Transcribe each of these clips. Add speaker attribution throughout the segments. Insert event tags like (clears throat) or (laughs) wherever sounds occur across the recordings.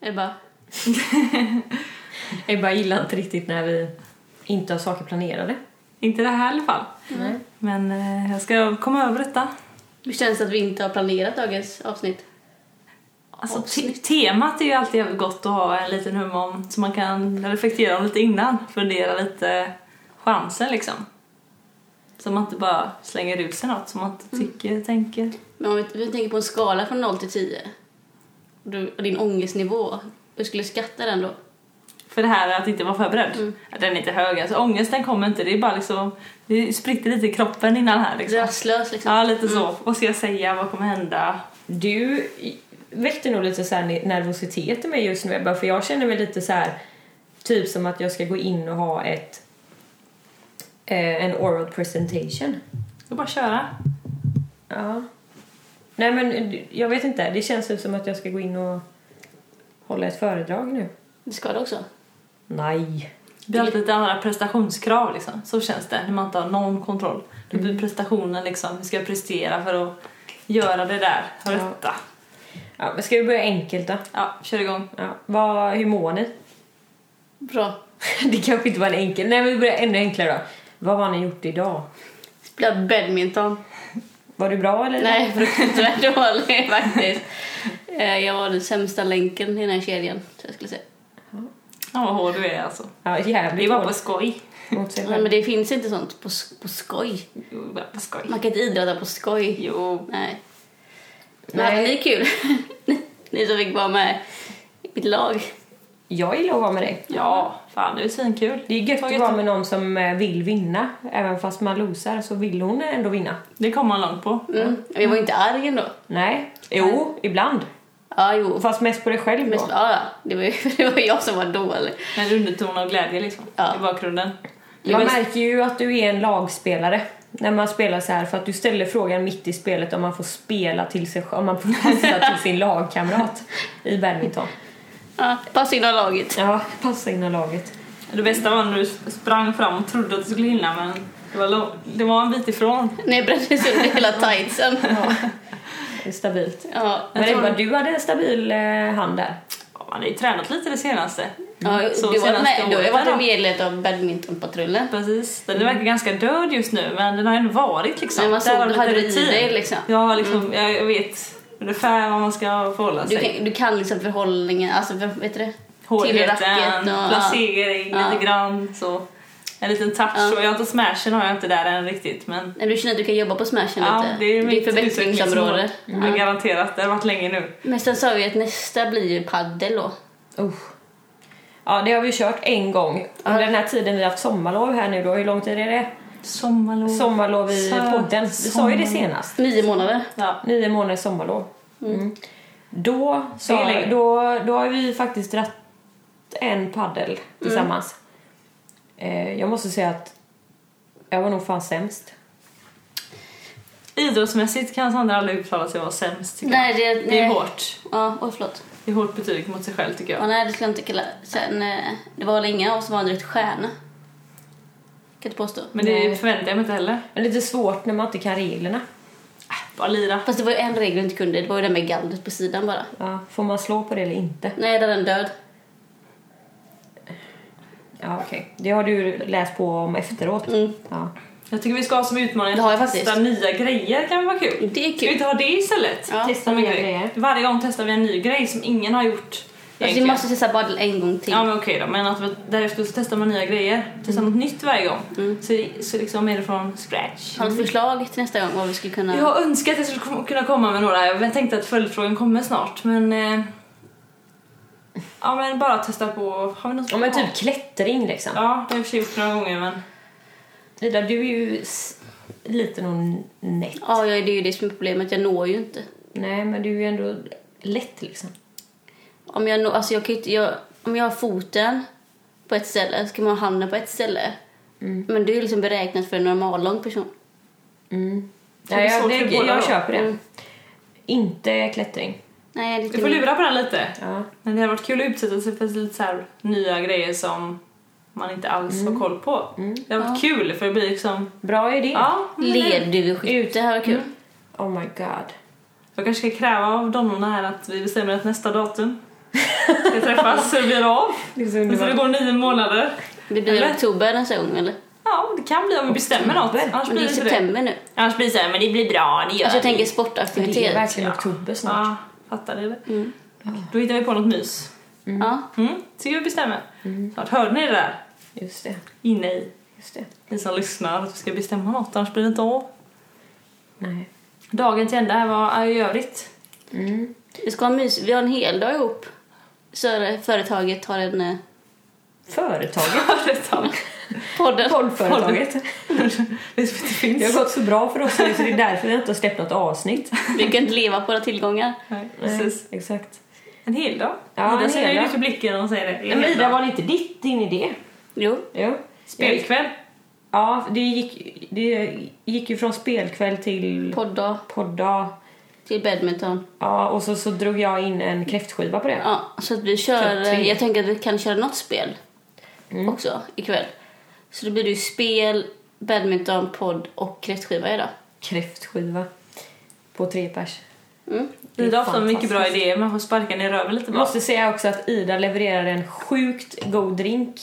Speaker 1: Ebba,
Speaker 2: Ebba gillar inte riktigt när vi inte har saker planerade.
Speaker 3: Inte det här i alla fall.
Speaker 2: Nej.
Speaker 3: Men eh, jag ska komma över detta.
Speaker 1: hur känns det att vi inte har planerat dagens avsnitt?
Speaker 3: Alltså, te- temat är ju alltid jävligt gott att ha en liten hum om så man kan reflektera om lite innan. Fundera lite chanser liksom. Så man inte bara slänger ut sig något som man inte tycker, tänker.
Speaker 1: Men om vi, vi tänker på en skala från 0 till 10 och du, och din ångestnivå, hur skulle du skatta den då?
Speaker 3: För det här att inte vara förberedd.
Speaker 1: Mm.
Speaker 3: Den är inte hög. Alltså, ångesten kommer inte. Det är bara liksom, det spritter lite i kroppen innan här liksom.
Speaker 1: Rastlös liksom?
Speaker 3: Ja, lite så. Vad ska jag säga? Vad kommer hända?
Speaker 2: Du väckte nog lite så här ne- nervositet i mig just nu Ebba, för jag känner mig lite så här typ som att jag ska gå in och ha ett eh, en oral presentation.
Speaker 3: Ska bara köra.
Speaker 2: Ja. Nej men eh, jag vet inte, det känns typ som att jag ska gå in och hålla ett föredrag nu.
Speaker 1: Det ska du också?
Speaker 2: Nej.
Speaker 3: Det är alltid lite andra prestationskrav liksom. Så känns det när man inte har någon kontroll. Då
Speaker 1: Mm.
Speaker 3: blir prestationen liksom, hur ska jag prestera för att göra det där
Speaker 2: Ja.
Speaker 3: rätta? Ja,
Speaker 2: Ja, men ska vi börja enkelt då?
Speaker 3: kör igång.
Speaker 2: Ja. Vad, hur mår ni?
Speaker 1: Bra.
Speaker 2: (laughs) Det kanske inte var en enkel. Nej, men vi börjar ännu enklare då. Vad har ni gjort idag?
Speaker 1: Spela badminton.
Speaker 2: Var du bra eller?
Speaker 1: Nej, fruktansvärt dålig (laughs) faktiskt. Eh, Jag var den sämsta länken i den här kedjan, så jag skulle säga.
Speaker 3: Ja, vad hård du är alltså.
Speaker 2: Ja,
Speaker 3: Det
Speaker 2: jävligt
Speaker 3: var på
Speaker 2: hårt
Speaker 3: skoj.
Speaker 2: mot sig
Speaker 1: Nej,
Speaker 2: själv.
Speaker 1: men det finns inte sånt på, s- på skoj.
Speaker 3: Jo, bara på skoj.
Speaker 1: Man kan inte idrotta på skoj.
Speaker 3: Jo.
Speaker 1: Nej. Men hade ni
Speaker 2: Nej,
Speaker 1: kul? (laughs) ni som fick vara med i mitt lag.
Speaker 2: jag gillar att vara med dig.
Speaker 3: Ja, fan det är svinkul.
Speaker 2: Det är gött att
Speaker 3: Taget.
Speaker 2: vara med någon som eh, vill vinna. Även fast man losar så vill hon ändå vinna.
Speaker 3: Det kom man långt på.
Speaker 1: Mm. Jag var inte arg ändå.
Speaker 2: Nej. Jo, ibland.
Speaker 1: Ja, jo.
Speaker 2: Fast mest på dig själv
Speaker 1: Mest,
Speaker 2: då.
Speaker 1: ja, ja. Det, var, ju- (laughs) det var jag som var dålig.
Speaker 3: Men underton av glädje liksom
Speaker 1: Ja.
Speaker 3: i bakgrunden.
Speaker 2: Jag
Speaker 1: mest-
Speaker 2: märker ju att du är en lagspelare. När man spelar så här för att du ställer frågan mitt i spelet om man får spela till sig om man får passa till sin lagkamrat i badminton.
Speaker 1: Ja, passa in i laget.
Speaker 2: Ja, passa in i laget.
Speaker 3: Det bästa var när du sprang fram och trodde att du skulle hinna men det var, lång- det var en bit ifrån.
Speaker 1: När jag brände sönder hela
Speaker 3: (laughs)
Speaker 1: tightsen.
Speaker 2: Ja, det är stabilt.
Speaker 1: Ja.
Speaker 2: Men
Speaker 3: Jag tror-
Speaker 2: Ebba, du hade en stabil eh, hand där.
Speaker 3: Ja, man har ju tränat lite det senaste.
Speaker 1: Ja,
Speaker 3: Så
Speaker 1: du var
Speaker 3: senaste
Speaker 1: med, du har ju
Speaker 3: året
Speaker 1: varit
Speaker 3: då.
Speaker 1: en medlem av badmintonpatrullen.
Speaker 3: Precis. Den verkar ganska död just nu men den har ändå varit liksom.
Speaker 1: Men man
Speaker 3: Där
Speaker 1: såg,
Speaker 3: har
Speaker 1: du
Speaker 3: lite
Speaker 1: hade det i
Speaker 3: rutin.
Speaker 1: dig liksom.
Speaker 3: Ja, liksom, jag vet ungefär vad man ska förhålla
Speaker 1: Du
Speaker 3: sig.
Speaker 1: kan, du kan liksom förhållningen, alltså vad heter det?
Speaker 3: Hårdheten,
Speaker 1: racket och-
Speaker 3: placering
Speaker 1: ja.
Speaker 3: lite grann så. En liten touch.
Speaker 1: Ja.
Speaker 3: Och jag har inte smashen har jag inte där än riktigt men
Speaker 1: När du känner att du kan jobba på smashen
Speaker 3: Ja,
Speaker 1: lite.
Speaker 3: det är
Speaker 1: Ditt
Speaker 3: mitt Mm.
Speaker 1: förbättringsområde.
Speaker 3: utvecklingsmål. Ja, garanterat, det har varit länge nu.
Speaker 1: Men sen sa vi att nästa blir ju paddel då.
Speaker 2: Usch. Ja, det har vi kört en gång. Under den här tiden vi har haft sommarlov här nu då, hur lång tid är det?
Speaker 3: Sommarlov.
Speaker 2: Sommarlov i
Speaker 3: Mm. Så-
Speaker 2: podden. Vi sa ju det
Speaker 3: sommarlov.
Speaker 2: senast.
Speaker 1: Nio månader.
Speaker 3: Ja.
Speaker 2: Nio månaders sommarlov. Mm. Då,
Speaker 3: Det är
Speaker 2: sa,
Speaker 3: länge.
Speaker 2: då, då har vi faktiskt dratt en
Speaker 3: Mm.
Speaker 2: paddel tillsammans. Eh, jag måste säga att jag var nog fan sämst.
Speaker 3: Idrottsmässigt kan Sandra aldrig uttala sig vara sämst tycker
Speaker 1: Nej, det,
Speaker 3: jag. Det är
Speaker 1: nej.
Speaker 3: hårt.
Speaker 1: Ja, oj förlåt.
Speaker 3: Det är hårt betyg mot sig själv tycker jag.
Speaker 1: Ja, nej, det skulle jag inte kalla Sen, eh, det var väl ingen av oss som var en direkt stjärna. Kan inte påstå.
Speaker 3: Men det
Speaker 2: Nej.
Speaker 3: förväntar jag mig inte heller.
Speaker 2: Men lite svårt när man inte kan reglerna.
Speaker 3: Bara lira.
Speaker 1: Fast det var ju en regel du inte kunde, det var ju den med gallret på sidan bara.
Speaker 2: Ja, får man slå på det eller inte?
Speaker 1: Nej, där är den död.
Speaker 2: Ja, okej. Det har du läst på om efteråt.
Speaker 1: Mm.
Speaker 2: Ja.
Speaker 3: Jag tycker vi ska ha som utmaning
Speaker 1: Det har jag
Speaker 3: att testa nya grejer kan vara kul.
Speaker 1: Det är
Speaker 3: Ska vi
Speaker 1: kul.
Speaker 3: inte ha det istället?
Speaker 1: Ja.
Speaker 2: Testa
Speaker 3: Som en
Speaker 2: nya
Speaker 3: grej.
Speaker 2: grejer.
Speaker 3: Varje gång testar vi en ny grej som ingen har gjort.
Speaker 1: Alltså, vi
Speaker 3: egentligen.
Speaker 1: måste testa paddel en gång till.
Speaker 3: Ja men okej då, men att vi- därefter så testar man nya grejer. Testar något nytt varje gång.
Speaker 1: Mm.
Speaker 3: Så, så liksom är det från scratch.
Speaker 1: Har du ett förslag till nästa gång vad vi skulle kunna...
Speaker 3: Jag önskar att jag skulle kom- kunna komma med några, jag tänkte att följdfrågan kommer snart men... Eh, ja men bara testa på, har vi något
Speaker 2: Ja, men typ klättring liksom.
Speaker 3: Ja, det har jag i och för sig gjort några gånger men...
Speaker 2: Ida, du är ju s- lite någon nätt.
Speaker 1: Ja, jag- det är ju det som är problemet. Jag når ju inte.
Speaker 2: Nej, men du är ju ändå lätt liksom.
Speaker 1: Om jag, når, alltså jag, kan ju inte, jag, om jag har foten på ett ställe så kan man ha handen på ett ställe.
Speaker 3: Mm.
Speaker 1: Men det är ju liksom beräknat för en normallång person.
Speaker 2: Mm.
Speaker 3: Så det
Speaker 2: Nej,
Speaker 3: är
Speaker 2: jag,
Speaker 3: svårt för
Speaker 2: det,
Speaker 3: båda
Speaker 2: jag
Speaker 3: då?
Speaker 2: köper det.
Speaker 1: Mm.
Speaker 2: Inte klättring.
Speaker 1: Nej, det är
Speaker 3: Du får
Speaker 1: inte-
Speaker 3: lura på den lite.
Speaker 2: Ja.
Speaker 3: Men det har varit kul att utsätta sig för lite så här nya grejer som man inte alls
Speaker 1: Mm.
Speaker 3: har koll på. Det har varit kul för det blir liksom...
Speaker 2: Bra idé.
Speaker 3: Ja, men det-
Speaker 1: Lerduveskytte, här var kul.
Speaker 2: Oh my god.
Speaker 3: Jag kanske ska kräva av donnorna här att vi bestämmer ett nästa datum. ska träffas så det blir
Speaker 1: (laughs)
Speaker 3: av.
Speaker 2: Det är så
Speaker 3: Men Så det
Speaker 2: underbart.
Speaker 3: går nio månader.
Speaker 1: Det blir
Speaker 3: Eller?
Speaker 1: oktober nästa gång eller?
Speaker 3: Ja, det kan bli om vi bestämmer något. Annars
Speaker 1: Men det
Speaker 3: blir
Speaker 1: är
Speaker 3: det inte det.
Speaker 1: september nu.
Speaker 3: Annars blir det så här, men det blir bra, det gör
Speaker 1: Alltså jag
Speaker 3: vi.
Speaker 1: tänker
Speaker 2: Det är
Speaker 1: sportaktivitet.
Speaker 2: verkligen oktober snart.
Speaker 3: Ja, fattar du? Då hittar vi på något mys.
Speaker 1: Mm. Ja.
Speaker 3: Mm, så vi bestämmer. Snart hörde ni det där
Speaker 2: Mm. Just det.
Speaker 3: inne i,
Speaker 2: Just det.
Speaker 3: ni som lyssnar, att vi ska bestämma något annars blir det inte av.
Speaker 2: Nej.
Speaker 3: Dagen till ända här var i övrigt.
Speaker 2: Mm.
Speaker 1: Vi ska ha mys. Vi har en hel dag ihop. Så företaget har en eh,
Speaker 2: Företaget.
Speaker 3: Företag.
Speaker 1: podden.
Speaker 2: Poddföretaget.
Speaker 3: (laughs) det är som inte
Speaker 2: Det
Speaker 3: finns.
Speaker 2: har gått så bra för oss nu så det är därför vi inte har släppt något avsnitt.
Speaker 1: Vi kan inte leva på våra tillgångar.
Speaker 3: Nej,
Speaker 2: Nej,
Speaker 3: precis.
Speaker 2: Exakt.
Speaker 3: En hel dag.
Speaker 2: Ja,
Speaker 3: Ida
Speaker 2: en
Speaker 3: ser
Speaker 2: hel
Speaker 3: nöjd
Speaker 2: dag.
Speaker 3: ut i blicken när hon säger det.
Speaker 2: Nej, men Ida, var det inte ditt, din idé?
Speaker 1: Jo.
Speaker 2: Jo.
Speaker 3: Spelkväll.
Speaker 2: Ja, det gick, det gick ju från spelkväll till
Speaker 1: Podda
Speaker 2: podda.
Speaker 1: till badminton.
Speaker 2: Ja, och så, så drog jag in en kräftskiva på det.
Speaker 1: Ja, så att vi kör... eh,
Speaker 2: Kör tre.
Speaker 1: Jag tänker att vi kan köra något spel
Speaker 3: Mm.
Speaker 1: också ikväll. Så då blir det ju spel, badminton, podd och kräftskiva idag.
Speaker 2: Kräftskiva. På tre pers.
Speaker 1: Mm.
Speaker 3: Ida har ofta mycket bra
Speaker 2: fantastiskt.
Speaker 3: idéer, man får sparka ner röven lite
Speaker 2: Jag
Speaker 3: bara.
Speaker 2: måste säga också att Ida levererade en sjukt god drink.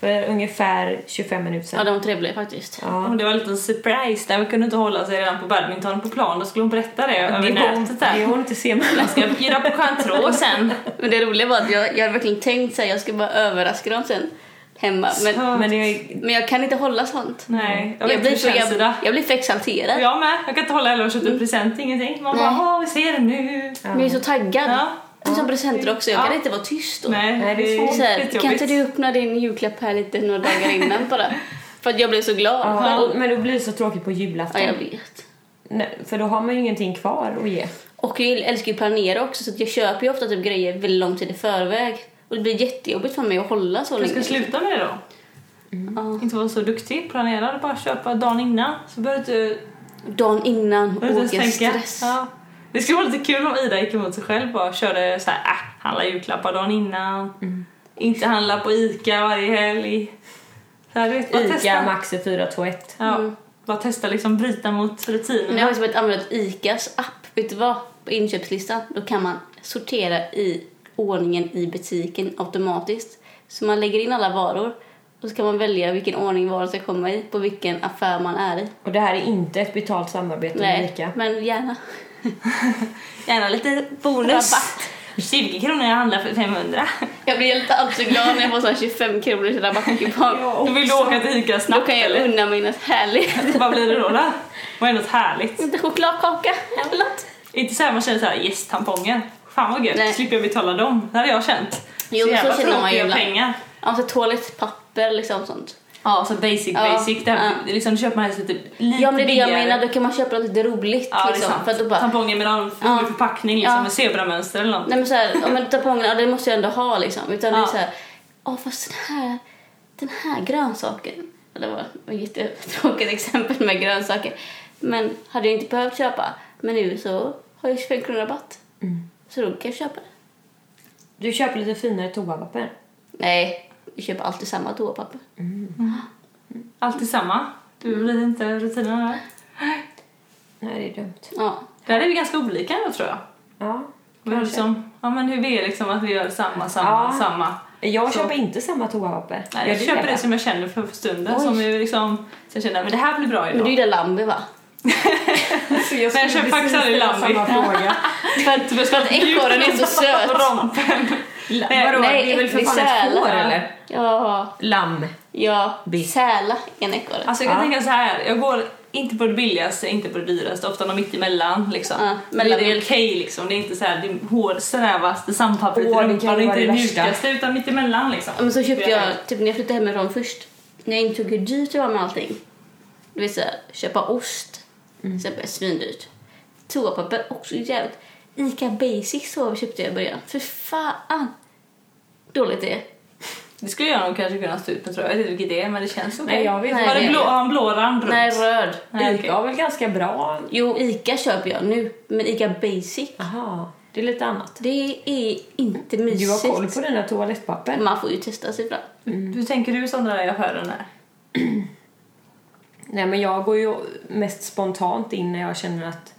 Speaker 2: För ungefär 25 minuter
Speaker 1: Ja,
Speaker 2: sedan.
Speaker 1: de var trevliga faktiskt.
Speaker 2: Ja,
Speaker 3: Och det Mm. var lite surprise där, vi kunde inte hålla sig redan på badminton på plan, då skulle hon berätta det över
Speaker 2: det går
Speaker 3: nätet
Speaker 2: det
Speaker 3: där.
Speaker 2: går inte
Speaker 3: (laughs)
Speaker 2: se mig.
Speaker 3: Jag ska bjuda på
Speaker 1: (laughs)
Speaker 3: Cointreau sen.
Speaker 1: Men det roliga var att jag, jag hade verkligen tänkt att jag ska bara överraska dem sen hemma. Men,
Speaker 3: Så-
Speaker 2: Men det är...
Speaker 1: men jag kan inte hålla sånt.
Speaker 3: Nej, jag
Speaker 1: Jag,
Speaker 3: vet inte hur
Speaker 1: blir,
Speaker 3: det
Speaker 1: för,
Speaker 3: känns
Speaker 1: jag,
Speaker 3: Ida.
Speaker 1: jag blir för exalterad.
Speaker 3: Jag med, jag kan inte hålla heller och köpa present, ingenting. Man bara,
Speaker 1: Nej.
Speaker 3: "Åh, vi ser det nu.
Speaker 1: Men jag är så taggad.
Speaker 3: Ja.
Speaker 1: Det är som presenter också, jag
Speaker 3: Ja.
Speaker 1: kan inte vara tyst då.
Speaker 3: Nej,
Speaker 2: Nej, det är
Speaker 1: Det är Så här, kan inte
Speaker 3: skitjobbigt.
Speaker 1: du öppna din julklapp här lite några dagar innan bara? För att jag blev så glad.
Speaker 2: Ja, och- men då blir det så tråkigt på
Speaker 1: Ja,
Speaker 2: julafton.
Speaker 1: jag vet.
Speaker 2: Nej, för då har man ju ingenting kvar att ge.
Speaker 1: Och jag älskar ju att planera också så att jag köper ju ofta typ grejer väldigt lång tid i förväg. Och det blir jättejobbigt för mig att hålla så
Speaker 3: Du
Speaker 1: länge.
Speaker 3: ska sluta med det då.
Speaker 1: Ja.
Speaker 3: Inte vara så duktig, planera och bara köpa dagen innan. Så behöver du
Speaker 1: Dagen innan
Speaker 3: behöver du
Speaker 1: åker
Speaker 3: inte ens tänka.
Speaker 1: stress.
Speaker 3: Ja. Det skulle vara lite kul om Ida gick emot sig själv bara körde så här, äh, handla julklappar dagen innan.
Speaker 1: Mm.
Speaker 3: Inte handla på Ica varje helg. Så här, du vet, bara
Speaker 2: Ica
Speaker 3: testa.
Speaker 2: Maxi 421.
Speaker 3: Ja,
Speaker 1: Mm.
Speaker 3: Bara testa liksom bryta mot
Speaker 1: Nu har
Speaker 3: rutinerna.
Speaker 1: jag faktiskt börjat använda ICAs app. Vet du vad? På inköpslistan då kan man sortera i ordningen i butiken automatiskt. Så man lägger in alla varor och så kan man välja vilken ordning varan ska komma i på vilken affär man är i.
Speaker 2: Och det här är inte ett betalt samarbete med
Speaker 1: Nej,
Speaker 2: Ica.
Speaker 1: men gärna.
Speaker 3: Gärna lite bonus. 20 kronor jag handlar för 500.
Speaker 1: Jag blir helt alltså glad när jag får sån här 25 kronors rabattkupong.
Speaker 3: Du vill du åka till Ica
Speaker 1: Då
Speaker 3: snabbt
Speaker 1: kan jag
Speaker 3: eller?
Speaker 1: unna mig något
Speaker 3: (laughs)
Speaker 1: härligt.
Speaker 3: Vad blir det då då? Vad är något härligt?
Speaker 1: Inte chokladkaka eller något.
Speaker 3: Inte så här man känner så här, yes tamponger. Fan vad gött,
Speaker 1: Nej.
Speaker 3: slipper jag betala dem. Det hade jag känt.
Speaker 1: Jo,
Speaker 3: så
Speaker 1: men så
Speaker 3: jävla
Speaker 1: känner man ju
Speaker 3: tråkiga
Speaker 1: ibland.
Speaker 3: pengar.
Speaker 1: Ja, så toalettpapper liksom sånt.
Speaker 3: Ja, så basic
Speaker 1: Ja,
Speaker 3: basic. Det här,
Speaker 1: ja.
Speaker 3: liksom, då köper man helst lite, lite
Speaker 1: Ja men det är det jag
Speaker 3: billigare.
Speaker 1: menar, då kan man köpa något lite roligt
Speaker 3: Ja, det är
Speaker 1: liksom.
Speaker 3: sant.
Speaker 1: För att då bara,
Speaker 3: Tamponger med någon
Speaker 1: Ja.
Speaker 3: rolig förpackning liksom,
Speaker 1: Ja.
Speaker 3: med zebramönster eller något.
Speaker 1: Nej men såhär, ja, men tampongerna, ja, det måste jag ändå ha liksom. Utan det
Speaker 3: Ja.
Speaker 1: är såhär, åh fast den här, den här grönsaken. Ja, Det var ett jättetråkigt exempel med grönsaker. Men hade jag inte behövt köpa. Men nu så har jag 25 kronor rabatt. Så då kan jag köpa det.
Speaker 2: Du köper lite finare toapapper.
Speaker 1: Nej, jag köper alltid samma toapapper.
Speaker 3: Alltid samma. Du blir inte rutinerna där.
Speaker 2: Nej, det är dumt.
Speaker 1: Ja.
Speaker 3: Där är vi ganska olika ändå tror jag.
Speaker 2: Ja.
Speaker 3: Vi har liksom, ja men hur vi är liksom att vi gör samma, samma,
Speaker 2: Ja.
Speaker 3: samma.
Speaker 2: Jag
Speaker 3: Så.
Speaker 2: köper inte samma toapapper.
Speaker 3: Nej,
Speaker 2: Gör
Speaker 3: jag
Speaker 2: du
Speaker 3: köper det
Speaker 2: va?
Speaker 3: som jag känner för för stunden.
Speaker 2: Oj.
Speaker 3: Som är liksom, så jag känner men det här blir bra
Speaker 1: Men
Speaker 3: idag.
Speaker 1: du gillar Lambi va?
Speaker 2: (laughs) Så jag
Speaker 3: Nej, jag
Speaker 2: skulle
Speaker 3: köper faktiskt
Speaker 2: precis
Speaker 3: aldrig
Speaker 2: ställa
Speaker 3: Lambi.
Speaker 2: Samma
Speaker 3: (laughs)
Speaker 2: fråga.
Speaker 1: För att, för att (laughs) ekorren är så söt.
Speaker 3: Rompen. Nej,
Speaker 2: Vadå,
Speaker 1: nej,
Speaker 2: det är väl för
Speaker 1: äcklig
Speaker 2: fan ett
Speaker 1: säl.
Speaker 2: får eller?
Speaker 1: Ja,
Speaker 2: Lamm.
Speaker 1: ja.
Speaker 2: Bi.
Speaker 1: Säla är en ekorre.
Speaker 3: Alltså jag kan
Speaker 2: Ja.
Speaker 3: tänka så här. jag går inte på det billigaste, inte på det dyraste, ofta någon mitt emellan liksom.
Speaker 1: Ja,
Speaker 3: men det är okej
Speaker 1: mellanmjölk.
Speaker 3: liksom, det är inte så här det hår, snävaste sandpappret
Speaker 2: Åh, det kan
Speaker 3: i
Speaker 2: ju
Speaker 3: rumpan, det är
Speaker 2: vara
Speaker 3: inte
Speaker 2: det
Speaker 3: det
Speaker 2: värsta.
Speaker 3: mjukaste utan mitt emellan liksom.
Speaker 1: Ja, men så köpte jag, typ när jag flyttade hemifrån först, när jag insåg hur dyrt det var med allting. Du vet såhär, köpa ost, mm. svindyrt. Toapapper, också jävligt. Ica Basics så köpte jag i början. För fan! Dåligt det är.
Speaker 3: Det skulle jag nog kanske kunna stå ut med tror jag, jag vet inte vilket det är men det känns okej.
Speaker 2: Nej, jag vet
Speaker 1: Nej,
Speaker 3: Har
Speaker 1: det-
Speaker 3: den blå, har en blå rand runt?
Speaker 1: Nej, röd.
Speaker 3: Nej, okej.
Speaker 2: Ica har väl ganska bra...
Speaker 1: Jo, Ica köper jag nu, men Ica Basic,
Speaker 2: Aha, det är lite annat.
Speaker 1: det är inte mysigt.
Speaker 2: Du har koll på dina toalettpapper.
Speaker 1: Man får ju testa sig fram.
Speaker 3: Hur tänker du Sandra där i affären är?
Speaker 2: Nej, men jag går ju mest spontant in när jag känner att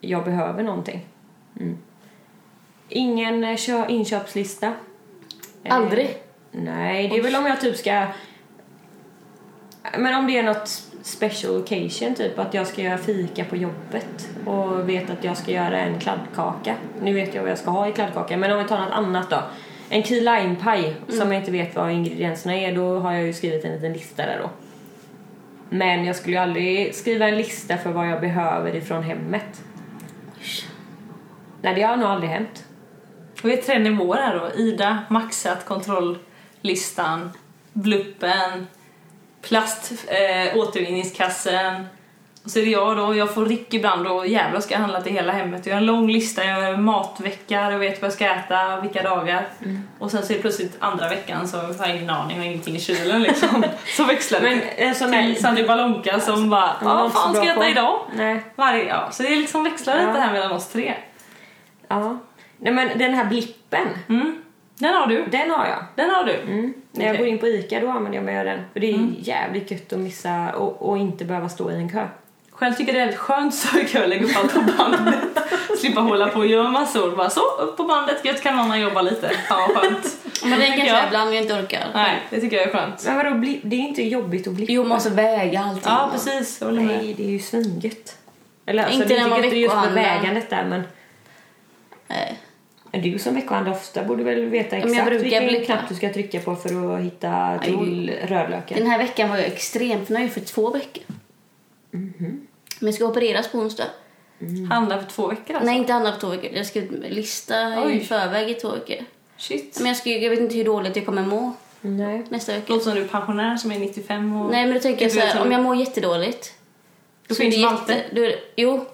Speaker 2: jag behöver någonting. Mm. Ingen eh, kö- inköpslista. Eh,
Speaker 1: Aldrig.
Speaker 2: Nej, det är väl om jag typ ska... Men om det är något special occasion, typ att jag ska göra fika på jobbet och vet att jag ska göra en kladdkaka. Nu vet jag vad jag ska ha i kladdkaka, men om vi tar något annat då. En key lime-paj
Speaker 3: Mm.
Speaker 2: som jag inte vet vad ingredienserna är, då har jag ju skrivit en liten lista där då. Men jag skulle ju aldrig skriva en lista för vad jag behöver ifrån hemmet. Nej, det har nog aldrig hänt.
Speaker 3: Och vi är tre nivåer här då. Ida, maxat, kontrolllistan, bluppen, plast, eh, återvinningskassen. Och så är det jag då, jag får rick ibland och jävlar ska jag handla till hela hemmet. Jag har en lång lista, jag har matvecka, jag vet vad jag ska äta, vilka dagar. Och sen så är det plötsligt andra veckan så har jag ingen aning, jag har ingenting i kylen liksom. (laughs) så växlar det
Speaker 2: Men eh, en sån där...
Speaker 3: till Sandy Balonka som bara
Speaker 2: var
Speaker 3: vad
Speaker 2: inte så
Speaker 3: fan ska
Speaker 2: bra
Speaker 3: jag äta
Speaker 2: på."
Speaker 3: idag?
Speaker 2: Nej.
Speaker 3: Varje, ja. Så det är liksom växlar
Speaker 2: Ja.
Speaker 3: lite här mellan oss tre.
Speaker 2: Ja. Nej men den här blippen,
Speaker 3: Mm. Den har du,
Speaker 2: den har jag.
Speaker 3: den har du.
Speaker 2: Mm. När jag
Speaker 3: Okej.
Speaker 2: går in på ICA då använder jag mig av den. För det är
Speaker 1: Mm.
Speaker 2: jävligt gött att missa och, och inte behöva stå i en kö.
Speaker 3: Själv tycker jag det är väldigt skönt så (laughs) kan jag lägga upp allt på bandet. Slippa hålla på och göra massor. Bara så, upp på bandet, gött kan mamma jobba lite. Fan vad skönt.
Speaker 1: Men det kan jag
Speaker 3: tycker jag.
Speaker 1: göra ibland om jag inte orkar.
Speaker 3: Nej, det tycker jag är skönt.
Speaker 2: Men vadå, bli- det är inte jobbigt att blippa?
Speaker 1: Jo, man måste väga allting.
Speaker 3: Ja, precis. Jag håller med.
Speaker 2: Nej, det är ju svingött. Eller alltså,
Speaker 1: Inte
Speaker 2: inte
Speaker 1: när
Speaker 2: det
Speaker 1: man
Speaker 2: tycker inte just med
Speaker 1: veckohandlar.
Speaker 2: vägandet där men...
Speaker 1: Nej.
Speaker 2: Men Du som veckohandlar ofta borde väl veta
Speaker 1: men jag
Speaker 2: exakt
Speaker 1: brukar
Speaker 2: vilken
Speaker 1: blippa.
Speaker 2: knapp du ska trycka på för att hitta till rödlöken.
Speaker 1: Den här veckan var jag extremt nöjd för två veckor.
Speaker 3: Mhm.
Speaker 1: Men jag ska opereras på onsdag.
Speaker 3: Handla för två veckor alltså.
Speaker 1: Nej, inte andra på två veckor. Jag ska lista i
Speaker 3: Oj.
Speaker 1: förväg i två veckor.
Speaker 3: Shit.
Speaker 1: Men jag, ska, jag vet inte hur dåligt jag kommer må
Speaker 2: Nej.
Speaker 1: nästa vecka.
Speaker 3: Låter som du är pensionär som är 95 och...
Speaker 1: Nej, men då tänker jag
Speaker 3: Det
Speaker 1: så
Speaker 3: blir
Speaker 1: här,
Speaker 3: som-
Speaker 1: om jag mår jättedåligt.
Speaker 3: Då
Speaker 1: så
Speaker 3: finns
Speaker 1: är det
Speaker 3: Malte.
Speaker 1: då är det, Jo,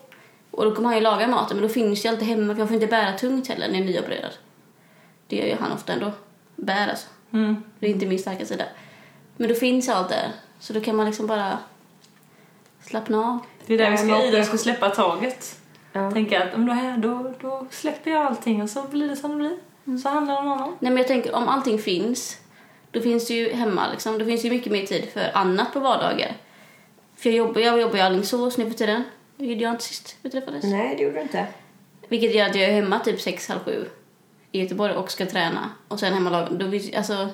Speaker 1: och då kommer han ju laga maten. Men då finns jag alltid hemma för jag får inte bära tungt heller när jag är nyopererad. Det gör ju han ofta ändå. Bär alltså.
Speaker 3: Mm.
Speaker 1: Det är inte min starka sida. Men då finns allt där. Så då kan man liksom bara slappna av.
Speaker 3: Det är där
Speaker 2: Ja,
Speaker 3: vi ska,
Speaker 2: men-
Speaker 3: Ida ska släppa taget.
Speaker 2: Ja.
Speaker 3: Tänka att om du är här då, då släpper jag allting och så blir det som det blir.
Speaker 1: Mm.
Speaker 3: Så handlar det om annan.
Speaker 1: Nej men jag tänker om allting finns, då finns det ju hemma liksom. Då finns det ju mycket mer tid för annat på vardagar. För jag jobbar, jag jobbar i Alingsås nu för tiden. Det gjorde jag inte sist vi träffades.
Speaker 2: Nej, det gjorde du inte.
Speaker 1: Vilket gör att jag är hemma typ sex, halv sju i Göteborg och ska träna. Och sen hemma laga. Då finns, alltså,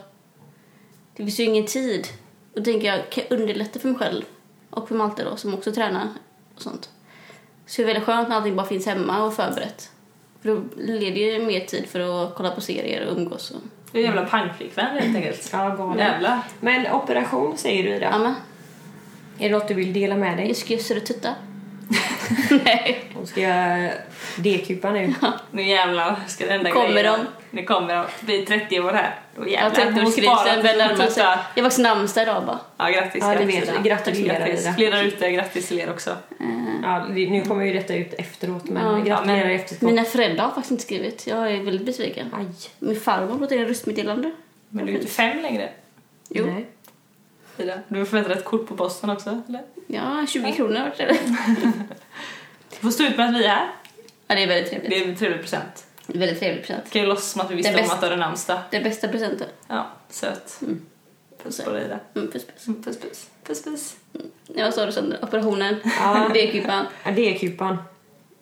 Speaker 1: det finns ju ingen tid. Och då tänker jag, kan jag underlätta för mig själv och för Malte då som också tränar och sånt. Så det är väldigt skönt när allting bara finns hemma och förberett. För då leder ju mer tid för att kolla på serier och umgås. Och...
Speaker 3: Du är en jävla pangflickvän helt enkelt.
Speaker 2: Ja, galen.
Speaker 3: Jävlar.
Speaker 2: Men operation säger du Ida.
Speaker 1: Ja, men.
Speaker 2: Är det något du vill dela med dig?
Speaker 1: Jag ska göra tutta. Nej.
Speaker 2: Hon ska göra D-kupa nu.
Speaker 3: Nu jävlar ska det hända
Speaker 1: Kommer
Speaker 3: grejer.
Speaker 1: de?
Speaker 3: Nu kommer de. Det blir 30 år här. Då
Speaker 1: Jag
Speaker 3: jävlar.
Speaker 1: tänkte
Speaker 3: Hon sparar
Speaker 1: beskrivelsen
Speaker 3: till
Speaker 1: väl närmar sig.
Speaker 3: tuttar.
Speaker 1: Jag var namnsdag idag bara.
Speaker 3: Ja, grattis.
Speaker 2: Ja, det
Speaker 3: grattis,
Speaker 2: vet jag.
Speaker 3: Ida.
Speaker 2: Gratulerar, Ida.
Speaker 3: Grattis. Fler där ute, grattis till er också.
Speaker 2: Ja, vi- nu kommer ju detta ut efteråt men
Speaker 1: Ja.
Speaker 2: gratulerar
Speaker 3: Ja,
Speaker 2: i
Speaker 3: men-
Speaker 2: efterskott.
Speaker 1: Mina föräldrar har faktiskt inte skrivit. Jag är väldigt besviken.
Speaker 2: Aj.
Speaker 1: Min farmor har fått in ett röstmeddelande.
Speaker 3: Men du är inte fem längre,
Speaker 1: Jo.
Speaker 2: Nej.
Speaker 3: Ida. Du förväntar dig ett kort på posten också, eller?
Speaker 1: Ja, 20 kronor vart det.
Speaker 3: Du får stå ut med att vi är här.
Speaker 1: Ja, det är väldigt trevligt.
Speaker 3: Det är en trevlig present.
Speaker 1: Väldigt trevlig present.
Speaker 3: Kan ju låtsas som att vi
Speaker 1: Det är
Speaker 3: visste om
Speaker 1: bäst.
Speaker 3: att du hade namnsdag.
Speaker 1: Det är bästa presenten.
Speaker 3: Ja, söt.
Speaker 1: Mm.
Speaker 3: Puss på dig, Ida.
Speaker 1: Mm, puss, puss.
Speaker 3: Mm, Puss, puss. Puss, puss.
Speaker 1: Nej, vad sa du Sandra? Operationen?
Speaker 2: Ja.
Speaker 1: (laughs) B-kupan?
Speaker 2: Ja, D-kupan.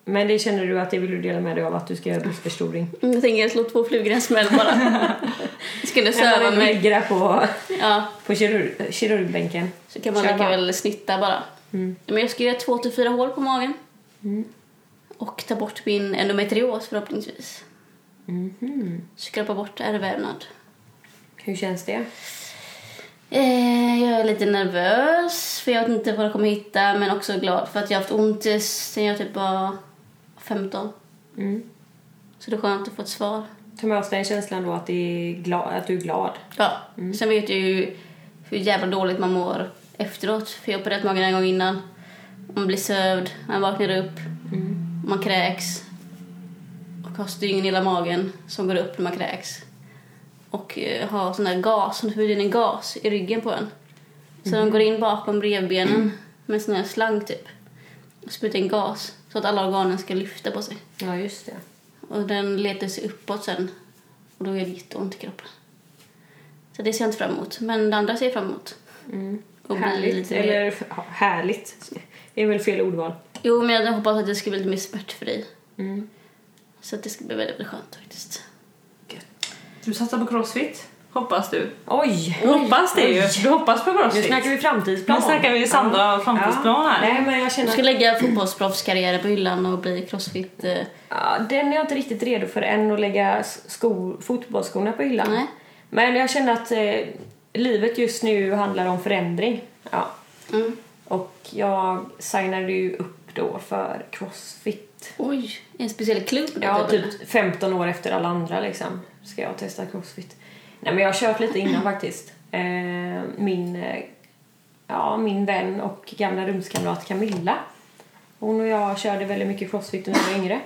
Speaker 2: Men det känner du att det vill du dela med dig av att du ska göra bröstförstoring?
Speaker 1: Mm, Jag tänker slå två flugor i en smäll bara. Jag skulle söva
Speaker 2: Eller
Speaker 1: mig.
Speaker 2: ligger där på,
Speaker 1: Ja,
Speaker 2: på kirurg, kirurgbänken.
Speaker 1: så kan man Mm.
Speaker 2: Kör
Speaker 1: lika
Speaker 2: bara.
Speaker 1: väl snitta bara. Men jag ska göra två till fyra hål på magen. Mm. Och ta bort min endometrios förhoppningsvis. Mhm. Skrapa bort ärrvävnad.
Speaker 2: Hur känns det?
Speaker 1: Eh, Jag är lite nervös för jag vet inte vad jag kommer hitta men också glad för att jag har haft ont i- sen jag typ var 15.
Speaker 2: Mm.
Speaker 1: Så det är skönt att få ett svar.
Speaker 2: Ta med oss den känslan då att, det är gla- att du är glad.
Speaker 1: Ja. Sen vet jag ju hur jävla dåligt man mår efteråt för jag har opererat magen en gång innan. Man blir sövd, man vaknar upp,
Speaker 2: Mm.
Speaker 1: man kräks och har stygn i hela magen som går upp när man kräks. Och eh, har sån där gas, som förbjuder in en gas i ryggen på en. Så de går in bakom revbenen med sån här slang typ och sprutar in gas så att alla organen ska lyfta på sig.
Speaker 2: Ja, just det.
Speaker 1: Och den letar sig uppåt sen och då gör det jätteont i kroppen. Så det ser jag inte fram emot, men det andra ser jag fram emot. Och bli
Speaker 2: Mm. Härligt.
Speaker 1: lite mer-
Speaker 2: Eller ja, härligt. Det är väl fel ordval.
Speaker 1: Jo, men jag hade hoppats att det skulle bli lite mer smärtfri. Så att det ska bli väldigt, väldigt skönt faktiskt.
Speaker 3: Du satsar på crossfit, hoppas du.
Speaker 2: Oj!
Speaker 3: hoppas det ju. Du hoppas på
Speaker 2: Nu
Speaker 3: crossfit.
Speaker 2: snackar vi framtidsplan.
Speaker 3: Nu snackar vi Sandra och framtidsplan
Speaker 2: Ja.
Speaker 3: här.
Speaker 2: Nej, men jag känner
Speaker 1: Du
Speaker 2: att
Speaker 1: ska lägga fotbollsproffskarriären på hyllan och bli crossfit... Eh,
Speaker 2: Ja, den är jag inte riktigt redo för än att lägga skor, fotbollsskorna på hyllan.
Speaker 1: Nej.
Speaker 2: Men jag känner att eh, livet just nu handlar om förändring. Ja.
Speaker 1: mm.
Speaker 2: Och jag signade ju upp då för Crossfit.
Speaker 1: Oj, en speciell klubb då?
Speaker 2: Ja,
Speaker 1: eller?
Speaker 2: typ 15 år efter alla andra liksom. Ska jag testa Crossfit. Nej men jag har kört lite innan faktiskt. Eh, min, eh, ja, min vän och gamla rumskamrat Camilla. Hon och jag körde väldigt mycket Crossfit när vi var yngre.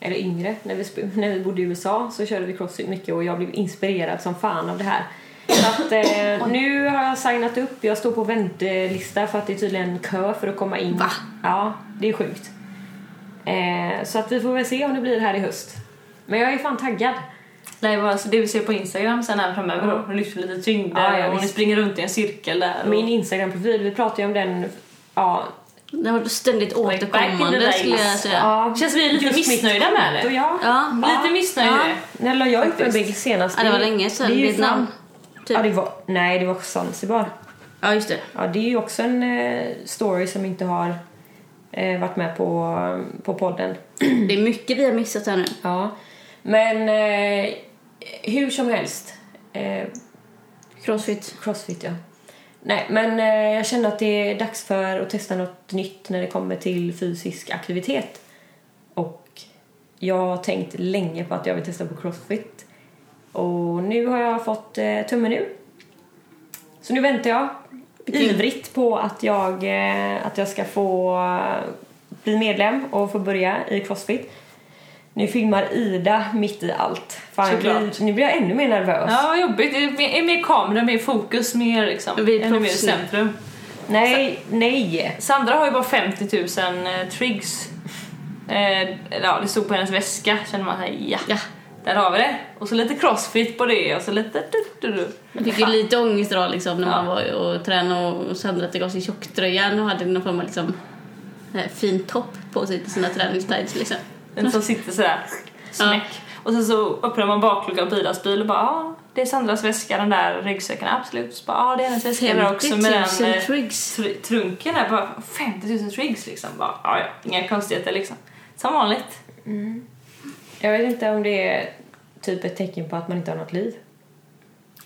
Speaker 2: Eller yngre, när vi, sp- när vi bodde i USA så körde vi Crossfit mycket och jag blev inspirerad som fan av det här. Så att, eh, nu har jag signat upp, jag står på väntelista för att det är tydligen kö för att komma in.
Speaker 1: Va?
Speaker 2: Ja, det är sjukt. Eh, så att vi får väl se om det blir här i höst. Men jag är fan taggad.
Speaker 3: Nej, bara så det vi ser på Instagram sen här framöver då. Hon lyfter lite tyngder
Speaker 2: Ja, ja,
Speaker 3: och ni
Speaker 2: visst.
Speaker 3: springer runt i en cirkel där. Och...
Speaker 2: Min Instagram-profil, vi pratade ju om den, ja,
Speaker 1: Det var ständigt
Speaker 3: back in the
Speaker 1: återkommande
Speaker 3: days.
Speaker 1: skulle jag säga.
Speaker 2: ja
Speaker 3: Känns vi lite
Speaker 2: Just mitt
Speaker 3: missnöjda med
Speaker 2: och
Speaker 3: det?
Speaker 2: jag.
Speaker 1: Ja.
Speaker 3: Lite missnöjda.
Speaker 2: När la jag upp en
Speaker 3: Faktiskt.
Speaker 2: bild senast?
Speaker 1: Ja, det var
Speaker 2: är-
Speaker 1: länge sedan.
Speaker 2: det är ju
Speaker 1: Vietnam.
Speaker 2: fan-
Speaker 1: Typ.
Speaker 2: Ja, det var, nej, det var Zanzibar.
Speaker 1: Ja, just det.
Speaker 2: Ja, det är ju också en eh, story som inte har eh, varit med på, på podden.
Speaker 1: Det är mycket vi har missat här nu.
Speaker 2: Ja. Men eh, hur som helst. Eh,
Speaker 1: Crossfit.
Speaker 2: crossfit, ja. Nej, men eh, jag känner att det är dags för att testa något nytt när det kommer till fysisk aktivitet. Och jag har tänkt länge på att jag vill testa på crossfit. Och nu har jag fått eh, tummen ur. Så nu väntar jag ivrigt på att jag, eh, att jag ska få eh, bli medlem och få börja i crossfit. Nu filmar Ida mitt i allt. Fan, jag
Speaker 3: Såklart.
Speaker 2: blir, nu blir jag ännu mer nervös.
Speaker 3: Ja, vad jobbigt. Det är mer- är mer kamera, mer fokus, mer liksom.
Speaker 1: Vi är
Speaker 3: ännu mer i
Speaker 1: proffs nu.
Speaker 3: centrum.
Speaker 2: Nej, nej!
Speaker 3: Sandra har ju bara 50 000 eh, trigs. Eh, eller ja, det stod på hennes väska, känner man såhär ja.
Speaker 1: Ja.
Speaker 3: Där har vi det. Och så lite crossfit på det och så lite du, du, du.
Speaker 1: Jag fick ju lite ångest då liksom när man var och tränade och Sandra tog av sig tjocktröjan och hade någon form av liksom eh, fin topp på sig till sina träningstights liksom.
Speaker 3: Den som sitter sådär, smäck. Och sen så öppnar man bakluckan på Idas bil och bara ah, det är Sandras väska, den där ryggsäcken, absolut. Så bara ah, det är hennes väska där också med den
Speaker 1: 000
Speaker 3: eh,
Speaker 1: trigs.
Speaker 3: tr- trunken där, bara 50 000 trigs liksom. Bara, ah, ja, inga konstigheter liksom. Som vanligt.
Speaker 2: Jag vet inte om det är typ ett tecken på att man inte har något liv.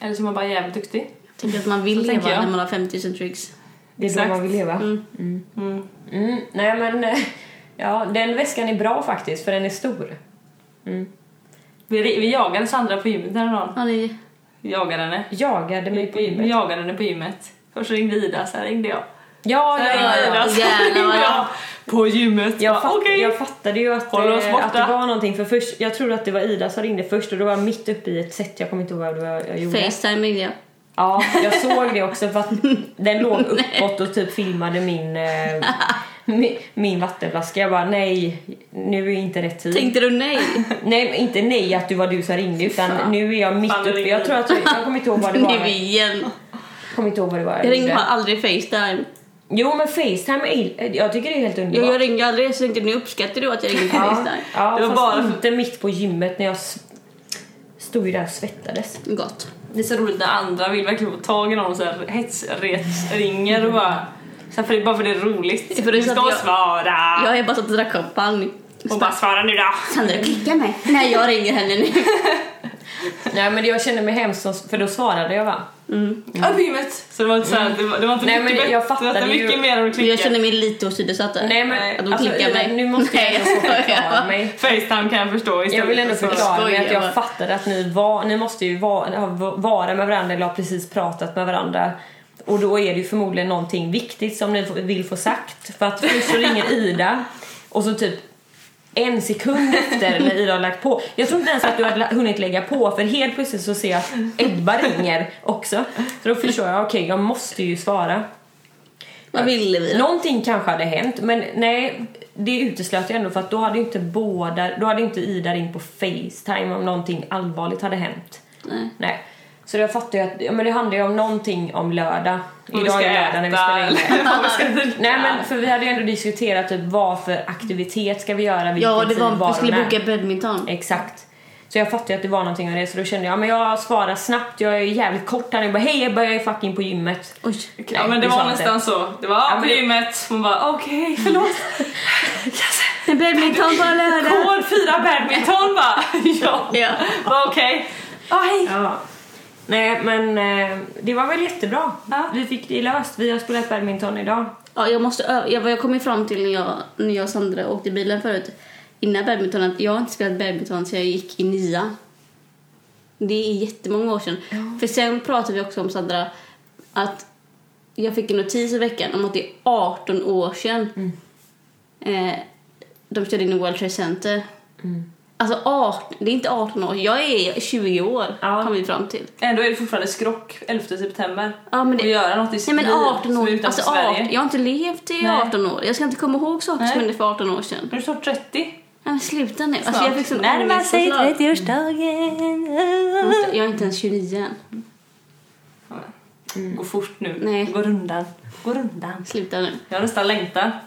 Speaker 3: Eller så är man bara jävligt duktig.
Speaker 1: Tänk att man vill
Speaker 3: Så tänker
Speaker 1: leva
Speaker 3: jag.
Speaker 1: när man har 50 000 trigs.
Speaker 2: Det är
Speaker 3: Exakt.
Speaker 2: då man vill leva.
Speaker 1: Mm.
Speaker 3: Mm.
Speaker 2: Mm, nej men, eh, ja den väskan är bra faktiskt för den är stor.
Speaker 3: Vi, vi jagade Sandra på gymmet den här dagen.
Speaker 1: Ja, det är
Speaker 3: jagade henne.
Speaker 2: Jagade mig på
Speaker 3: Vi- Vi
Speaker 2: gymmet.
Speaker 3: jagade henne på gymmet. Först ringde Ida, sen ringde jag.
Speaker 2: Ja,
Speaker 3: Sen
Speaker 2: ja,
Speaker 3: ringde
Speaker 2: ja, ja.
Speaker 3: Ida, sen
Speaker 1: Jävlar,
Speaker 3: ringde
Speaker 1: vad
Speaker 3: jag. På gymmet.
Speaker 2: Jag,
Speaker 3: Jag bara,
Speaker 2: fatt,
Speaker 3: Okej.
Speaker 2: jag fattade ju att,
Speaker 3: Håll oss
Speaker 2: eh,
Speaker 3: borta.
Speaker 2: att det var någonting för först, jag trodde att det var Ida som ringde först och då var jag mitt uppe i ett set, jag kommer inte ihåg vad det var jag gjorde.
Speaker 3: Mm.
Speaker 1: Facetime ringde jag.
Speaker 2: Ja, jag såg det också för att den låg uppåt och typ filmade min, eh, min, min vattenflaska. Jag bara nej, nu är inte rätt tid.
Speaker 1: Tänkte du nej?
Speaker 2: Nej, men inte nej att du var du som ringde utan
Speaker 3: Fan.
Speaker 2: nu är jag mitt
Speaker 3: Fan, det
Speaker 2: uppe.
Speaker 3: ringer.
Speaker 2: Jag tror att jag, jag kommer inte ihåg vad det
Speaker 1: (laughs)
Speaker 2: var.
Speaker 1: nu
Speaker 2: Jag
Speaker 1: igen.
Speaker 2: kommer inte ihåg vad det var.
Speaker 1: Jag ringde
Speaker 2: gjorde.
Speaker 1: bara aldrig Facetime.
Speaker 2: Jo, men Facetime är ill- Jag tycker det är helt
Speaker 1: Jag,
Speaker 2: underbart.
Speaker 1: jag ringde aldrig så tänkte nu uppskattar du att jag ringde på
Speaker 2: ja,
Speaker 1: Facetime.
Speaker 2: ja,
Speaker 3: Det var
Speaker 2: fast
Speaker 3: bara för-
Speaker 2: inte mitt på gymmet när jag s- stod ju där och svettades.
Speaker 1: Gott.
Speaker 3: Det är så roligt när andra vill verkligen få tag i någon och så här hetsret ringer och bara... Så här, för det är bara för det är roligt.
Speaker 1: Det är för det
Speaker 3: du
Speaker 1: är så
Speaker 3: ska
Speaker 1: att jag-
Speaker 3: svara!
Speaker 1: Jag är bara satt och drack champagne.
Speaker 3: Hon bara svara nu då!
Speaker 1: Sandra klicka mig. Nej jag ringer henne
Speaker 2: (laughs)
Speaker 1: nu.
Speaker 2: Nej, men jag kände mig hemskt som- för då svarade jag va?
Speaker 3: (laughs) Ja, på gymmet! Så det var inte så här, det, var, det var inte
Speaker 2: Nej,
Speaker 3: mycket
Speaker 2: men
Speaker 3: bättre.
Speaker 2: jag
Speaker 3: det
Speaker 2: fattade
Speaker 3: var
Speaker 2: ju-
Speaker 3: mycket mer än att klicka.
Speaker 1: Jag känner mig lite åsidosatt där.
Speaker 2: Nej, men
Speaker 3: Nej,
Speaker 1: att de klickar
Speaker 2: Ida,
Speaker 1: mig.
Speaker 2: nu måste jag
Speaker 1: Nej,
Speaker 2: ändå få
Speaker 1: jag skojar
Speaker 2: förklara
Speaker 1: bara.
Speaker 2: mig.
Speaker 3: Facetime kan jag förstå istället.
Speaker 2: Jag vill ändå
Speaker 3: Så-
Speaker 2: förklara mig
Speaker 1: skojar
Speaker 2: att jag
Speaker 1: bara.
Speaker 2: fattade att ni var, ni måste ju vara, ha- vara med varandra eller ha precis pratat med varandra. Och då är det ju förmodligen någonting viktigt som ni f- vill få sagt. För att först så ringer Ida och så typ en sekund efter när Ida har lagt på. Jag tror inte ens att du hade la- hunnit lägga på för helt plötsligt så ser jag att Ebba ringer också. Så då förstår jag, okej jag måste ju svara.
Speaker 1: Vad ville vi? då?
Speaker 2: Någonting kanske hade hänt, men nej, det uteslöt jag ändå för att då hade ju inte båda, då hade inte Ida ringt på Facetime om någonting allvarligt hade hänt.
Speaker 1: Nej.
Speaker 2: Nej. Så jag fattar ju att, ja, men det handlar ju om någonting om lördag
Speaker 3: Om vi
Speaker 2: Idag
Speaker 3: ska
Speaker 2: är lördag när vi
Speaker 3: äta
Speaker 2: spelar
Speaker 1: (laughs)
Speaker 2: in det.
Speaker 3: eller vad vi ska dricka.
Speaker 2: Nej men för vi hade ju ändå diskuterat typ vad för aktivitet ska vi göra, vilken
Speaker 1: Ja, det
Speaker 2: tid,
Speaker 1: var,
Speaker 2: var
Speaker 1: vi skulle
Speaker 2: och när.
Speaker 1: boka badminton.
Speaker 2: Exakt. Så jag fattade ju att det var någonting av det så då kände jag, ja, men jag svarar snabbt, jag är ju jävligt kort här nu. Jag bara, Hej jag börjar ju fucking på gymmet.
Speaker 1: Oj.
Speaker 3: Ja men det
Speaker 2: vi sa
Speaker 3: var
Speaker 2: inte.
Speaker 3: nästan så. Det var ja,
Speaker 2: men
Speaker 3: på
Speaker 2: det-
Speaker 3: gymmet, hon bara okej förlåt. Yes.
Speaker 1: Men badminton på lördag!
Speaker 3: Kod 4 badminton
Speaker 2: (laughs)
Speaker 3: bara. ja,
Speaker 1: Ja.
Speaker 3: bara okej. Ja hej.
Speaker 2: Ja. Nej men eh, det var väl jättebra.
Speaker 3: Ja.
Speaker 2: Vi fick det löst, vi har spelat badminton idag.
Speaker 1: Ja, jag måste ö- jag, vad jag kom ju fram till när jag, när jag och Sandra åkte i bilen förut innan badminton att jag har inte spelat badminton sedan jag gick i nia. Det är jättemånga år sedan. För sen pratade vi också om Sandra att jag fick en notis i veckan om att det är 18 år sedan eh, de körde in i World Trade Center. Alltså 18, det är inte 18 år, jag är 20 år
Speaker 2: Ja.
Speaker 1: kom vi fram till.
Speaker 3: Ändå är det fortfarande skrock 11 september.
Speaker 1: Ja, men det-
Speaker 3: Och göra något i
Speaker 1: Nej
Speaker 3: sitt
Speaker 1: men
Speaker 3: liv
Speaker 1: 18
Speaker 3: som är
Speaker 1: år,
Speaker 3: utanför
Speaker 1: alltså 18,
Speaker 3: Sverige.
Speaker 1: jag har inte levt i
Speaker 3: Nej.
Speaker 1: 18 år. Jag ska inte komma ihåg saker som
Speaker 3: Nej.
Speaker 1: hände för 18 år sedan.
Speaker 3: Nu är du snart 30.
Speaker 1: Nej, men sluta nu. Alltså,
Speaker 3: Snart.
Speaker 1: jag fick sån
Speaker 3: Närmar
Speaker 1: ångest
Speaker 3: sig
Speaker 1: och slag.
Speaker 2: 30-årsdagen.
Speaker 1: Jag är inte- Jag är inte ens 29 än.
Speaker 3: Ja, men. Gå fort nu.
Speaker 1: Mm. Nej.
Speaker 3: Gå rundan. Gå rundan.
Speaker 1: Sluta nu.
Speaker 3: Jag nästan längtar.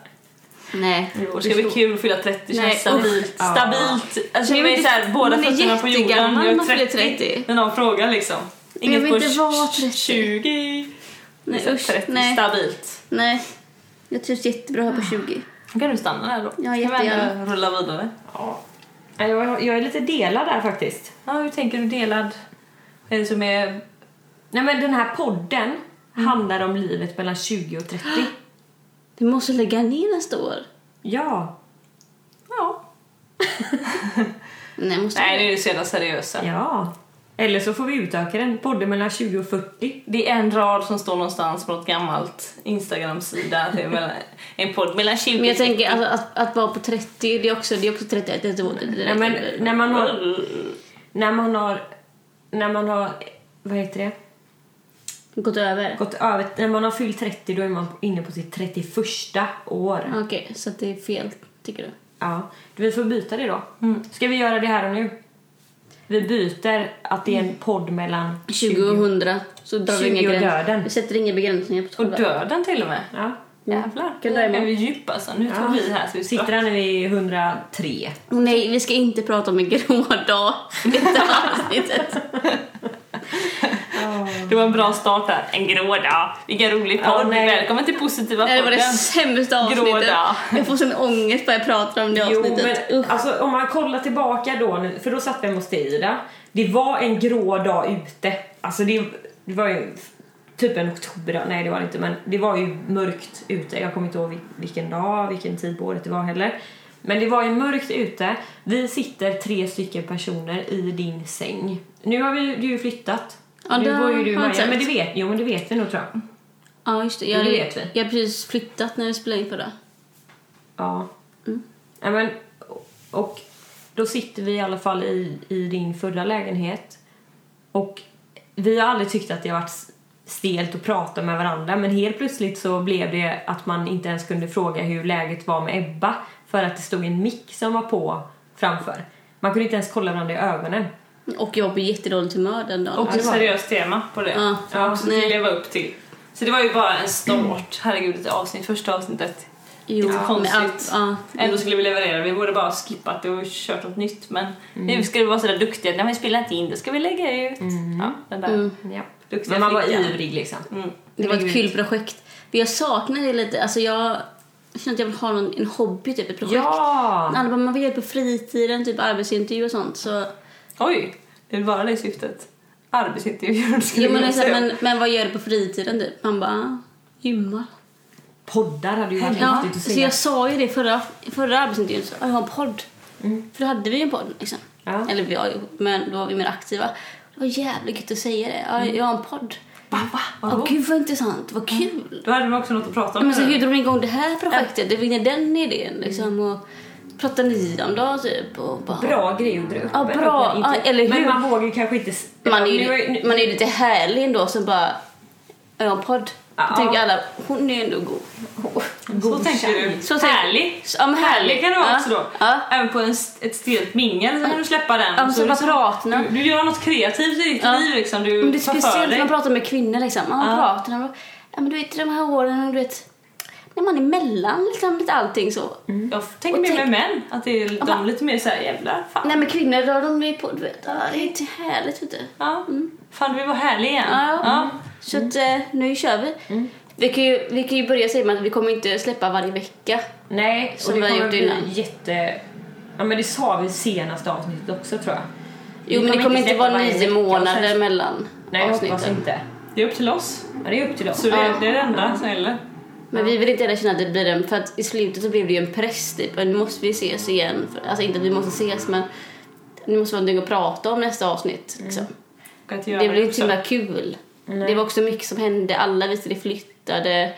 Speaker 1: Nej.
Speaker 3: Det ska bli kul att fylla 30
Speaker 1: Nej,
Speaker 3: känns stabilt.
Speaker 2: usch.
Speaker 3: Stabilt! Alltså,
Speaker 1: Nej,
Speaker 3: jag
Speaker 1: men
Speaker 3: är
Speaker 1: det-
Speaker 3: såhär båda
Speaker 1: man är
Speaker 3: fötterna på jorden.
Speaker 1: jättegammal
Speaker 3: Jag
Speaker 1: när man fyller
Speaker 3: är
Speaker 1: 30.
Speaker 3: 30. När någon frågar liksom.
Speaker 1: Men jag
Speaker 3: Inget
Speaker 1: vill
Speaker 3: på
Speaker 1: inte vara
Speaker 3: 20. 20.
Speaker 1: Nej,
Speaker 3: Så här,
Speaker 1: usch,
Speaker 3: 30
Speaker 1: nej.
Speaker 3: Liksom stabilt.
Speaker 1: Nej. Jag trivs jättebra
Speaker 3: Ah.
Speaker 1: här på 20.
Speaker 3: Då kan du stanna där då.
Speaker 1: Ja,
Speaker 3: Kan vi
Speaker 1: jättegärna.
Speaker 3: ändå rulla vidare.
Speaker 2: Ja. Ja, Jag, jag är lite delad där faktiskt.
Speaker 3: Ja, hur tänker du delad? Vad är det som är...
Speaker 2: Nej men den här podden handlar om livet mellan 20 och 30.
Speaker 1: Du måste lägga ner nästa år.
Speaker 2: (gasps) ja.
Speaker 3: Ja.
Speaker 1: Nej, måste
Speaker 3: Nej, det är ju så jävla seriösa.
Speaker 2: Ja. Eller så får vi utöka den. Podden mellan 20 och 40.
Speaker 3: Det är en rad som står någonstans på något gammalt Instagram-sida. Det är mellan- En podd mellan 20
Speaker 1: Men jag tänker alltså, att, att vara på 30, det är också, det är också 31 ett år. Det
Speaker 2: Nej,
Speaker 1: räcker väl.
Speaker 2: men när man har... När man har... När man har... Vad heter det?
Speaker 1: Gått över.
Speaker 2: Gått över... När man har fyllt 30 då är man inne på sitt 31 år.
Speaker 1: Okej, så att det är fel, tycker du?
Speaker 2: Ja. Vi får byta det då. Ska vi göra det här och nu? Vi byter att det är en podd mellan
Speaker 1: 20 och 100. Så drar vi
Speaker 2: 20
Speaker 1: inga
Speaker 2: och
Speaker 1: gränser.
Speaker 2: döden.
Speaker 1: Vi sätter inga begränsningar på
Speaker 3: Och
Speaker 1: tolvan.
Speaker 3: döden till och med.
Speaker 2: Ja.
Speaker 3: Jävlar.
Speaker 1: Kan
Speaker 3: Nu
Speaker 1: det
Speaker 3: är
Speaker 1: vara?
Speaker 3: vi djupa alltså. Nu tar
Speaker 2: Ja.
Speaker 3: vi här så vi
Speaker 2: Sitter
Speaker 3: sitter
Speaker 2: han nu i 103?
Speaker 1: Åh nej, vi ska inte prata om en grå dag i detta avsnittet.
Speaker 3: Det var en bra start där. En grå dag. Vilken rolig
Speaker 2: Ja,
Speaker 3: podd.
Speaker 2: nej.
Speaker 3: Välkommen till positiva
Speaker 1: Nej, Det var det
Speaker 3: podden.
Speaker 1: sämsta
Speaker 3: Grå
Speaker 1: avsnittet.
Speaker 3: dag.
Speaker 1: Jag får sån ångest bara jag pratar om det
Speaker 2: Jo,
Speaker 1: avsnittet.
Speaker 2: men
Speaker 1: Usch.
Speaker 2: alltså, om man kollar tillbaka då, nu- för då satt vi hemma hos dig Ida. Det var en grå dag ute. Alltså det, det var ju typ en oktoberdag, nej det var det inte men det var ju mörkt ute. Jag kommer inte ihåg vil- vilken dag, vilken tid på året det var heller. Men det var ju mörkt ute. Vi sitter tre stycken personer i din säng. Nu har vi, du ju flyttat.
Speaker 1: Ja, det
Speaker 2: nu bor ju
Speaker 1: har
Speaker 2: du i
Speaker 1: jag
Speaker 2: Maja.
Speaker 1: sett.
Speaker 2: Men det vet, jo men det vet vi nog tror jag.
Speaker 1: Ja, just det.
Speaker 2: Jo,
Speaker 1: Jag,
Speaker 2: det vet vi.
Speaker 1: jag har precis flyttat när vi spelade in förra.
Speaker 2: Ja.
Speaker 1: Mm.
Speaker 2: ja men, och då sitter vi i alla fall i, i din förra lägenhet. Och vi har aldrig tyckt att det har varit stelt att prata med varandra men helt plötsligt så blev det att man inte ens kunde fråga hur läget var med Ebba för att det stod en mick som var på framför. Man kunde inte ens kolla varandra i ögonen.
Speaker 1: Och jag var på jättedåligt humör den dagen.
Speaker 3: Och ett seriöst tema på det.
Speaker 1: Ja.
Speaker 3: Ja, också
Speaker 1: Nej.
Speaker 3: till leva upp till. Så det var ju bara en start. Herregud, ett avsnitt. Första avsnittet.
Speaker 1: jo,
Speaker 3: lite
Speaker 1: men
Speaker 3: konstigt.
Speaker 1: allt- ja.
Speaker 3: Ändå skulle vi leverera. Vi borde bara ha skippat det och kört något nytt. Men
Speaker 1: Mm.
Speaker 3: nu ska vi vara sådär duktiga. När vi spelat in, då ska vi lägga ut. Ja, den där.
Speaker 1: Mm.
Speaker 2: Ja.
Speaker 3: Duktiga
Speaker 2: Men man var
Speaker 3: flickan.
Speaker 2: ivrig liksom.
Speaker 3: Mm.
Speaker 1: Det var ett
Speaker 2: Herregud.
Speaker 1: kul projekt. Men jag saknar det lite. Alltså jag jag känner att jag vill ha någon, en hobby, typ ett projekt.
Speaker 2: Ja!
Speaker 1: Alla bara, man vill göra det på fritiden, typ arbetsintervju och sånt. Så,
Speaker 3: Oj, det var det syftet. Arbetsintervjuer (laughs) skulle
Speaker 1: jo, men, det är
Speaker 3: jag
Speaker 1: så här,
Speaker 3: säga.
Speaker 1: men, men vad gör du på fritiden typ? Man bara, ah, gymmar.
Speaker 2: Poddar hade ju varit
Speaker 1: Ja,
Speaker 2: häftigt att
Speaker 1: så
Speaker 2: se.
Speaker 1: jag sa ju det förra, förra arbetsintervjun, så, "Ah, jag har en podd. För då hade vi en podd liksom.
Speaker 2: Ja.
Speaker 1: Eller vi har ju, men då var vi mer aktiva. Det var jävligt gött att säga det. "Ja, Jag har en podd.
Speaker 3: Va, va,
Speaker 1: Åh
Speaker 3: vad roligt.
Speaker 1: gud vad intressant, vad kul.
Speaker 3: Då hade man också något att prata om.
Speaker 1: Men så hur drog ni igång det här projektet? Hur fick ni den idén liksom? Och pratade ni om det typ? Och bara,
Speaker 2: Bra grej att dra upp.
Speaker 1: Ja, bra.
Speaker 2: Öppna inte-
Speaker 1: Ja, eller hur?
Speaker 2: Men man vågar ju kanske inte... s-
Speaker 1: Man är
Speaker 2: Nu
Speaker 1: ju,
Speaker 2: nu-
Speaker 1: man är ju lite härlig ändå som bara, jag har en podd.
Speaker 2: Ja.
Speaker 1: Jag tycker alla, hon är ändå god.
Speaker 3: Så
Speaker 2: God
Speaker 3: tänker
Speaker 2: tjej.
Speaker 3: du.
Speaker 1: Så tänker-
Speaker 3: härlig!
Speaker 1: Så, ja, men
Speaker 3: Härlig kan det vara
Speaker 1: Ja.
Speaker 3: också då.
Speaker 1: Ja.
Speaker 3: Även på en, st- ett stelt mingel så kan du släppa den.
Speaker 1: Ja, men så bara
Speaker 3: liksom-
Speaker 1: pratar man.
Speaker 3: du, du gör något kreativt i ditt
Speaker 1: Ja.
Speaker 3: liv liksom. Du
Speaker 1: Men det är
Speaker 3: tar för
Speaker 1: speciellt när
Speaker 3: dig.
Speaker 1: man pratar med kvinnor liksom. Man pratar, man ja, men du vet de här åren, du vet, när man är mellan liksom, lite allting så.
Speaker 3: Mm. Jag tänker
Speaker 1: Och
Speaker 3: mer med
Speaker 1: tänk-
Speaker 3: män, att det är de
Speaker 1: Aha. Mm.
Speaker 3: lite mer såhär jävlar fan.
Speaker 1: Nej men kvinnor, då de är på, du vet, ah, det är inte härligt ute.
Speaker 3: Ja. Fan vi var härliga igen.
Speaker 1: Mm. Ja.
Speaker 3: Ja.
Speaker 1: Så att, eh, nu kör vi. Vi, kan ju, vi kan ju börja säga med att vi kommer inte släppa varje vecka.
Speaker 2: Nej,
Speaker 1: Som
Speaker 2: och
Speaker 1: vi
Speaker 2: det
Speaker 1: har
Speaker 2: kommer
Speaker 1: gjort
Speaker 2: bli
Speaker 1: innan.
Speaker 2: jätte... Ja men det sa vi i senaste avsnittet också tror jag.
Speaker 1: Jo men det kommer inte
Speaker 2: släppa
Speaker 1: vara
Speaker 2: varje
Speaker 1: nio
Speaker 2: vecka och sen-
Speaker 1: månader mellan
Speaker 2: Nej jag hoppas
Speaker 1: avsnitten.
Speaker 2: inte.
Speaker 3: Det är upp till oss.
Speaker 2: Men det är upp till oss.
Speaker 3: Så det,
Speaker 1: Ja.
Speaker 3: det är det enda som gäller.
Speaker 1: Men vi vill inte heller känna att det blir en, för att i slutet så blev det ju en press typ, och nu måste vi ses igen. För, alltså inte att vi måste ses men nu måste vi ha någonting att prata om nästa avsnitt. Liksom.
Speaker 3: Och att göra
Speaker 1: Det blev inte
Speaker 3: Mm. också.
Speaker 1: så himla kul. Det var också mycket som hände, alla visste det flyttade,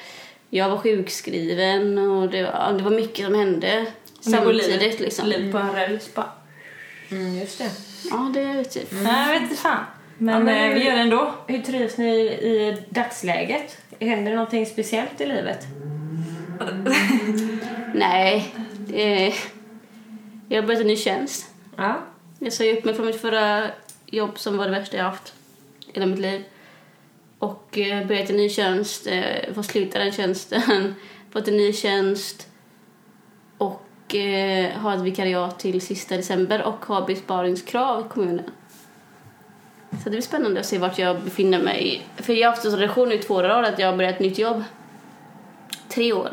Speaker 1: jag var sjukskriven och det var, det var mycket som hände
Speaker 3: Och nu går
Speaker 1: samtidigt
Speaker 3: livet-
Speaker 1: liksom.
Speaker 3: Livet på en räls bara.
Speaker 2: Mm, just det.
Speaker 1: Ja, det typ- vet jag.
Speaker 3: Nej jag vet inte fan. Men,
Speaker 2: Ja, men
Speaker 3: eh,
Speaker 2: hur-
Speaker 3: vi gör det ändå.
Speaker 2: Hur trivs ni i dagsläget? Händer det någonting speciellt i livet?
Speaker 3: Mm.
Speaker 1: Nej, det, jag har börjat en ny tjänst.
Speaker 2: Ja.
Speaker 1: Jag sa ju upp mig från mitt förra jobb som var det värsta jag haft i hela mitt liv. Och eh, börjat en ny tjänst, eh, fått sluta den tjänsten, (laughs) fått en ny tjänst och eh, har ett vikariat till sista december och har besparingskrav i kommunen. Så det blir spännande att se vart jag befinner mig. För jag har haft en sån relation i två år i rad att jag har börjat ett nytt jobb. Tre år.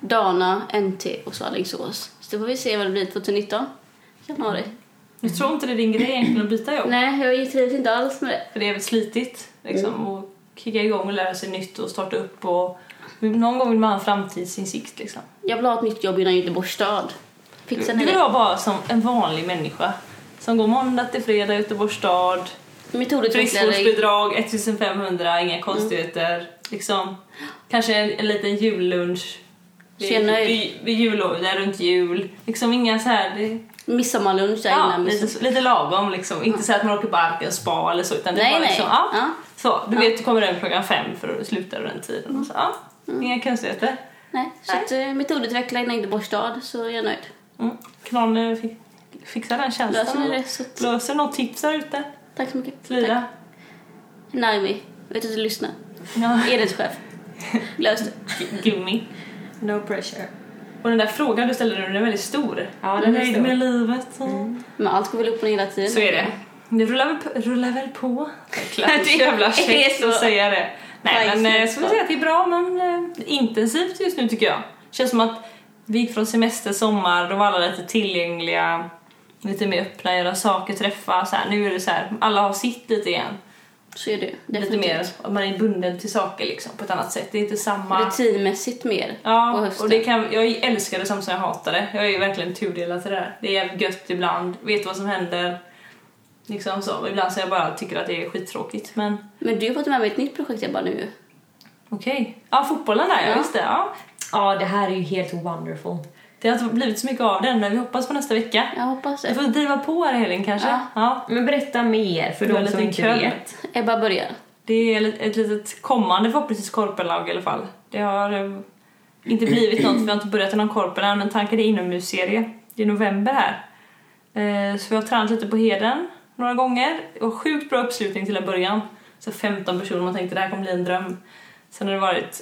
Speaker 1: Dana, NT och så Alingsås. Så då får vi se vad det blir 2019. Januari.
Speaker 3: Jag tror inte det är din grej egentligen att byta (laughs) jobb.
Speaker 1: Mm. Nej, jag trivs inte alls med det.
Speaker 3: För det är väl slitigt liksom
Speaker 1: Mm.
Speaker 3: och kicka igång och lära sig nytt och starta upp och någon gång vill man ha en framtidsinsikt liksom.
Speaker 1: Jag vill ha ett nytt jobb innan Göteborgs stad. Fixar
Speaker 3: du
Speaker 1: ni
Speaker 3: vill
Speaker 1: det?
Speaker 3: vara bara som en vanlig människa som går måndag till fredag i Göteborgs stad,
Speaker 1: Metodutvecklare.
Speaker 3: friskvårdsbidrag 1500,
Speaker 1: Mm.
Speaker 3: inga konstigheter, liksom kanske en, en liten jullunch vid,
Speaker 1: Tjena.
Speaker 3: vid, vid jullovet, där runt jul, liksom inga så här det,
Speaker 1: Midsommarlunch där
Speaker 3: ja,
Speaker 1: innan midsommar.
Speaker 3: lite, lite lagom liksom, inte så att man åker på Arken spa eller så utan det är
Speaker 1: Nej,
Speaker 3: bara
Speaker 1: nej.
Speaker 3: liksom, ja.
Speaker 1: Ja.
Speaker 3: Så, du vet du kommer hem klockan fem för att sluta runt tiden. Och så, ja,
Speaker 1: Mm.
Speaker 3: Inga konstigheter.
Speaker 1: Nej. Så att, eh, metodutvecklare innan Göteborgs stad så är jag nöjd.
Speaker 3: Mm. Kran eh, fi- fixar den tjänsten.
Speaker 1: Löser ni det så att,
Speaker 3: Löser någon tips där ute?
Speaker 1: Tack så mycket.
Speaker 3: Lyra?
Speaker 1: Tack. Naomi, vet du att du lyssnar?
Speaker 3: Ja.
Speaker 1: Edits
Speaker 3: (laughs)
Speaker 1: chef. Lös det.
Speaker 3: Gummi.
Speaker 2: No pressure.
Speaker 3: Och den där frågan du ställde nu, den är väldigt stor.
Speaker 2: Ja, den är
Speaker 3: Nöjd
Speaker 2: stor.
Speaker 3: med livet. och-
Speaker 1: Men allt går väl upp och ner hela tiden. (laughs)
Speaker 3: Så är det. Det rullar väl på. Rullar väl på. Det är
Speaker 1: Det
Speaker 3: jävla
Speaker 1: är
Speaker 3: käckt
Speaker 1: så.
Speaker 3: att säga det. Nej,
Speaker 1: Bajs
Speaker 3: men eh,
Speaker 1: nu.
Speaker 3: så vill jag säga att det är bra men eh, intensivt just nu tycker jag. Känns som att vi gick från semester, sommar, då var alla lite tillgängliga, lite mer öppna, göra saker, träffa så här. Nu är det så här, alla har sitt lite igen.
Speaker 1: (laughs) Så är det ju.
Speaker 3: Lite
Speaker 1: Definitivt.
Speaker 3: mer, att man är bunden till saker liksom på ett annat sätt. Det är inte samma...
Speaker 1: Rutinmässigt mer på
Speaker 3: Ja,
Speaker 1: hösten.
Speaker 3: och det kan, jag älskar det samtidigt som jag hatar det. Jag är ju verkligen tudelad till det där. Det är jävligt gött ibland, vet vad som händer. Liksom så. Ibland så jag bara tycker att det är skittråkigt, men
Speaker 1: Men du har fått med mig ett nytt projekt jag bara nu ju.
Speaker 3: okej. Ja, fotbollen där, ja.
Speaker 1: Ja.
Speaker 3: Just det, ja.
Speaker 2: Ja, det här är ju helt wonderful.
Speaker 3: Det har inte blivit så mycket av den, men vi hoppas på nästa vecka.
Speaker 1: Jag hoppas
Speaker 3: Vi
Speaker 1: det.
Speaker 3: får driva på här Elin kanske. Ja.
Speaker 1: Ja.
Speaker 2: Men berätta mer för
Speaker 3: Det var en
Speaker 2: de som
Speaker 3: liten
Speaker 2: inte
Speaker 3: kväll.
Speaker 2: vet.
Speaker 1: Ebba börjar.
Speaker 3: Det är ett litet kommande förhoppningsvis korpenlag i alla fall. Det har eh, inte blivit något, vi har inte börjat i någon korpen än, men tanken är inomhusserie. Det är november här. Eh, Så vi har tränat lite på Heden några gånger och sjukt bra uppslutning till en början. Så 15 personer, man tänkte det här kommer bli en dröm. Sen har det varit